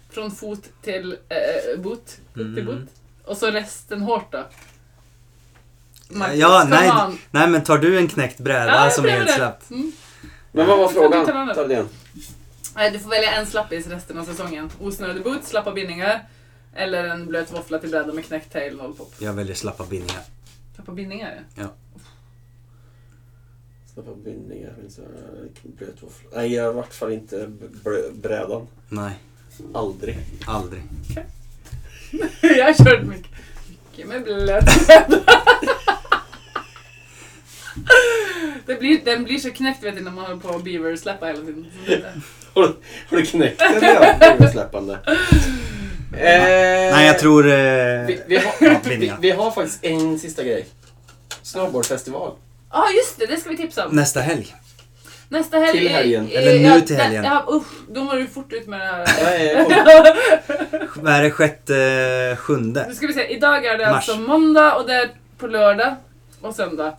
S1: från fot till eh, boot,
S2: Mm.
S1: upp till boot, och så resten hårt då. Marcus,
S2: Ja,
S1: come
S2: nej,
S1: on.
S2: nej men tar du en knäckt bräda
S1: Ja, jag
S2: som är helt
S1: blev det.
S2: slapp?
S1: Mm.
S3: Men vad var
S1: Jag tror
S3: frågan?
S1: inte den är-
S3: Ta det igen.
S1: Nej, du får välja en slappis resten av säsongen. Osnörade boots, slappa bindningar eller en blöt våffla till brädan med knäckt tail noll pop.
S2: Jag väljer slappa bindningar.
S1: Tappa bindningar ja.
S3: Snabba bindningar, inte blöt våffla. Nej, jag har i vart fall inte br- brädan.
S2: Nej,
S3: Aldrig.
S2: aldrig.
S1: Jag har kört mycket, mycket med blöt det blir, Den blir så knäckt vet du när man håller på och beaver-släppa hela tiden.
S3: Har du, har du knäckt den? Ja, det är släppande. Eh,
S2: Nej, jag tror... Eh,
S3: Vi, vi,
S2: ja,
S3: har, vi,
S2: bindningar.
S3: vi har faktiskt en sista grej. Snowboardfestival.
S1: Ja just det, det ska vi tipsa om.
S2: Nästa helg.
S1: Nästa helg.
S3: Till
S1: är-
S3: helgen.
S1: är-
S2: Eller nu
S1: ja,
S2: till
S1: nä-
S2: helgen.
S1: Ja, usch, då var du fort ut med det här.
S3: Nej, jag kommer-
S2: Vad är det? Sjätte, sjunde?
S1: Nu ska vi se, idag är det
S2: Mars.
S1: alltså måndag och det är på lördag och söndag.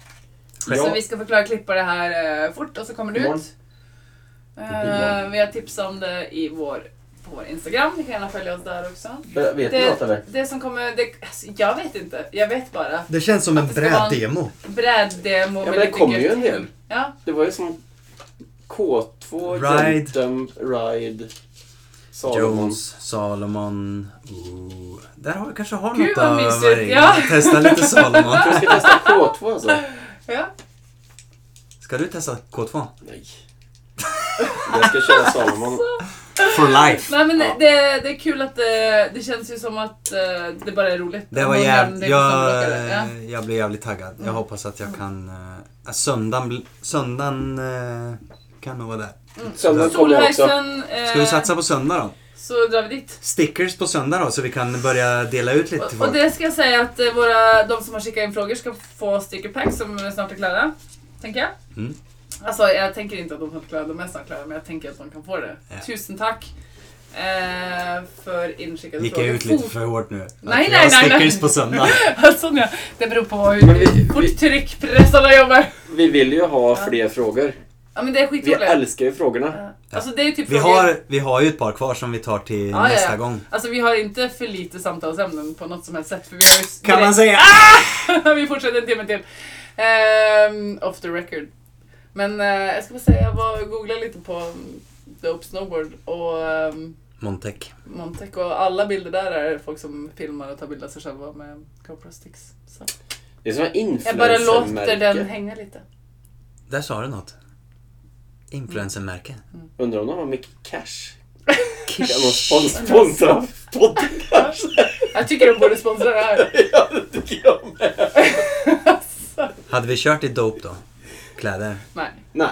S2: Sjätte.
S1: Så vi ska förklara klippa det här eh, fort och så kommer det
S3: Imorgon.
S1: ut. Eh, vi har tipsat om det i vår, på vår Instagram, ni kan gärna följa oss där också.
S3: Eh, Vet ni något eller?
S1: Det, det som kommer, det, alltså, jag vet inte, jag vet bara.
S2: Det känns som en
S1: Att det ska vara en-
S2: bräddemo.
S1: Bräddemo
S3: Ja, men det kommer ju en del.
S1: Ja,
S3: Det var ju som K2,
S2: Ride.
S3: Juntem, Ride, Salomon.
S2: Jones, Salomon. Ooh. Där har, kanske har
S1: Gud,
S2: något
S1: vad
S2: av
S1: mysigt,
S2: varje.
S1: ja.
S2: Testa lite Salomon.
S3: Jag ska testa K2 alltså.
S1: ja.
S2: Ska du testa K2?
S3: Nej. Jag ska köra Salomon.
S2: For life.
S1: Nej men
S3: Ja.
S1: det, det är kul att det, det känns ju som att eh, det bara är roligt.
S2: Det var
S1: Någon
S2: jävligt...
S1: nämnde det på
S2: Jag,
S1: samlockare, ja. Mm.
S2: jag blev jävligt taggad. Jag hoppas att jag kan... eh, söndagen, bl- söndagen eh, kan nog vara där.
S3: Söndagen kommer jag också.
S1: Solhajsen, eh,
S2: Ska vi satsa på söndag då?
S1: så drar vi dit.
S2: Stickers på söndag då så vi kan börja dela ut lite till
S1: Och, och
S2: folk.
S1: det ska jag säga att eh, våra, de som har skickat in frågor ska få stickerpack som snart är klara. Tänker jag.
S2: Mm.
S1: Alltså jag tänker inte att de snart är klara, de är snart klara men jag tänker att de kan få det.
S2: Ja.
S1: Tusen tack eh, för inskickade
S2: Gick jag
S1: frågor.
S2: ut lite
S1: Fort-
S2: för hårt nu? Att
S1: Nej,
S2: vi har
S1: nej, nej, nej.
S2: stickers på söndag.
S1: alltså, nej, det beror på
S3: Men vi-
S1: hur fort tryckpressarna jobbar.
S3: Vi vill ju ha fler frågor.
S1: Ja men det är
S3: Vi
S1: skitroligt.
S3: älskar ju frågorna.
S1: Alltså det är typ
S2: Vi
S1: frågor-
S2: har, vi har ju ett par kvar som vi tar till
S1: Ja, ja, ja.
S2: nästa gång.
S1: Alltså vi har inte för lite samtalsämnen på något som helst sätt. För vi Ah! har ju
S2: Kan man
S1: direkt-
S2: säga?
S1: vi fortsätter en timme till. Ehm, off the record. Men eh, jag ska bara säga, jag var googlade lite på mm, Dope Snowboard och um,
S2: Montec.
S1: Montec och alla bilder där är folk som filmar och tar bilder av sig själva med GoPro sticks. Så.
S3: Det är som en
S1: Jag bara låter den
S3: influencermärke.
S1: hänga lite.
S2: Där sa du något. Influencermärke.
S3: Undrar om de har mycket cash? Kan de spons- sponsra podden kanske?
S1: Jag tycker de borde sponsra det här.
S3: ja, det tycker jag med.
S2: Hade vi kört i Dope då? Kläder.
S1: Nej.
S3: Nej.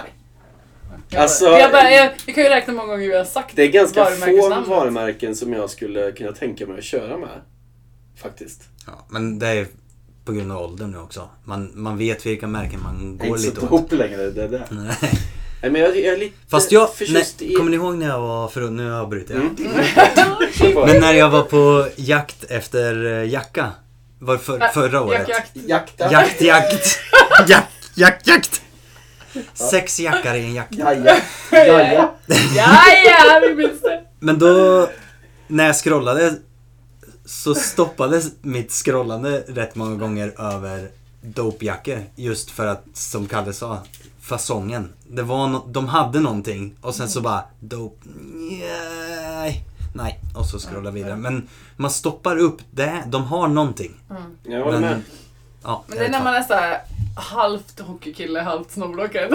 S1: Jag bara-
S3: Alltså-
S1: jag bara, jag, vi kan ju räkna hur många gånger vi har sagt
S3: Det är ganska få
S1: varumärkesnamnet.
S3: varumärken som jag skulle kunna tänka mig att köra med. Faktiskt.
S2: Ja, men det är på grund av åldern nu också. Man, man vet vilka märken man
S3: Jag är
S2: går
S3: inte
S2: lite
S3: så
S2: åt.
S3: dope längre. Det där.
S2: Nej.
S3: Nej, men jag, jag är lite
S2: Fast jag...
S3: förtjust
S2: Nej,
S3: i...
S2: kommer ni ihåg när jag var... För, nu avbryter jag.
S3: Mm. Kör på.
S2: Men när jag var på jakt efter eh, jacka. Var för,
S1: Nej,
S2: förra året.
S1: Jack, Jack.
S3: Jakta.
S2: Jakt, jakt. Jakt, jakt, jakt. Sex jackar i en jacka.
S3: Jaja. Jaja.
S1: Ja, ja, vi minns det.
S2: Men då, när jag scrollade så stoppades mitt scrollande rätt många gånger över dopejackor. Just för att, som Kalle sa, fasongen. Det var no- de hade någonting och sen så bara dope, nej, nej. Och så scrollar vidare. Men man stoppar upp, det, de har någonting.
S3: Jag håller med.
S2: ja,
S1: Men det är när man är såhär halvt hockeykille, halvt snowblockare.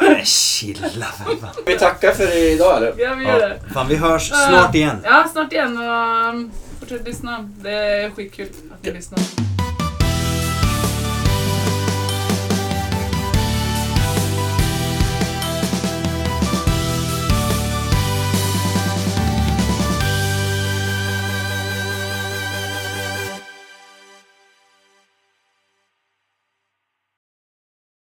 S2: Nej, "Äh, Chilla för fan.
S3: Vi tackar för idag eller?
S1: Ja, Ah. vi gör
S2: Ja,
S1: det.
S2: fan vi hörs snart igen.
S1: Ja, snart igen och um, fortsätt lyssna. Det är skitkul att ni lyssnar.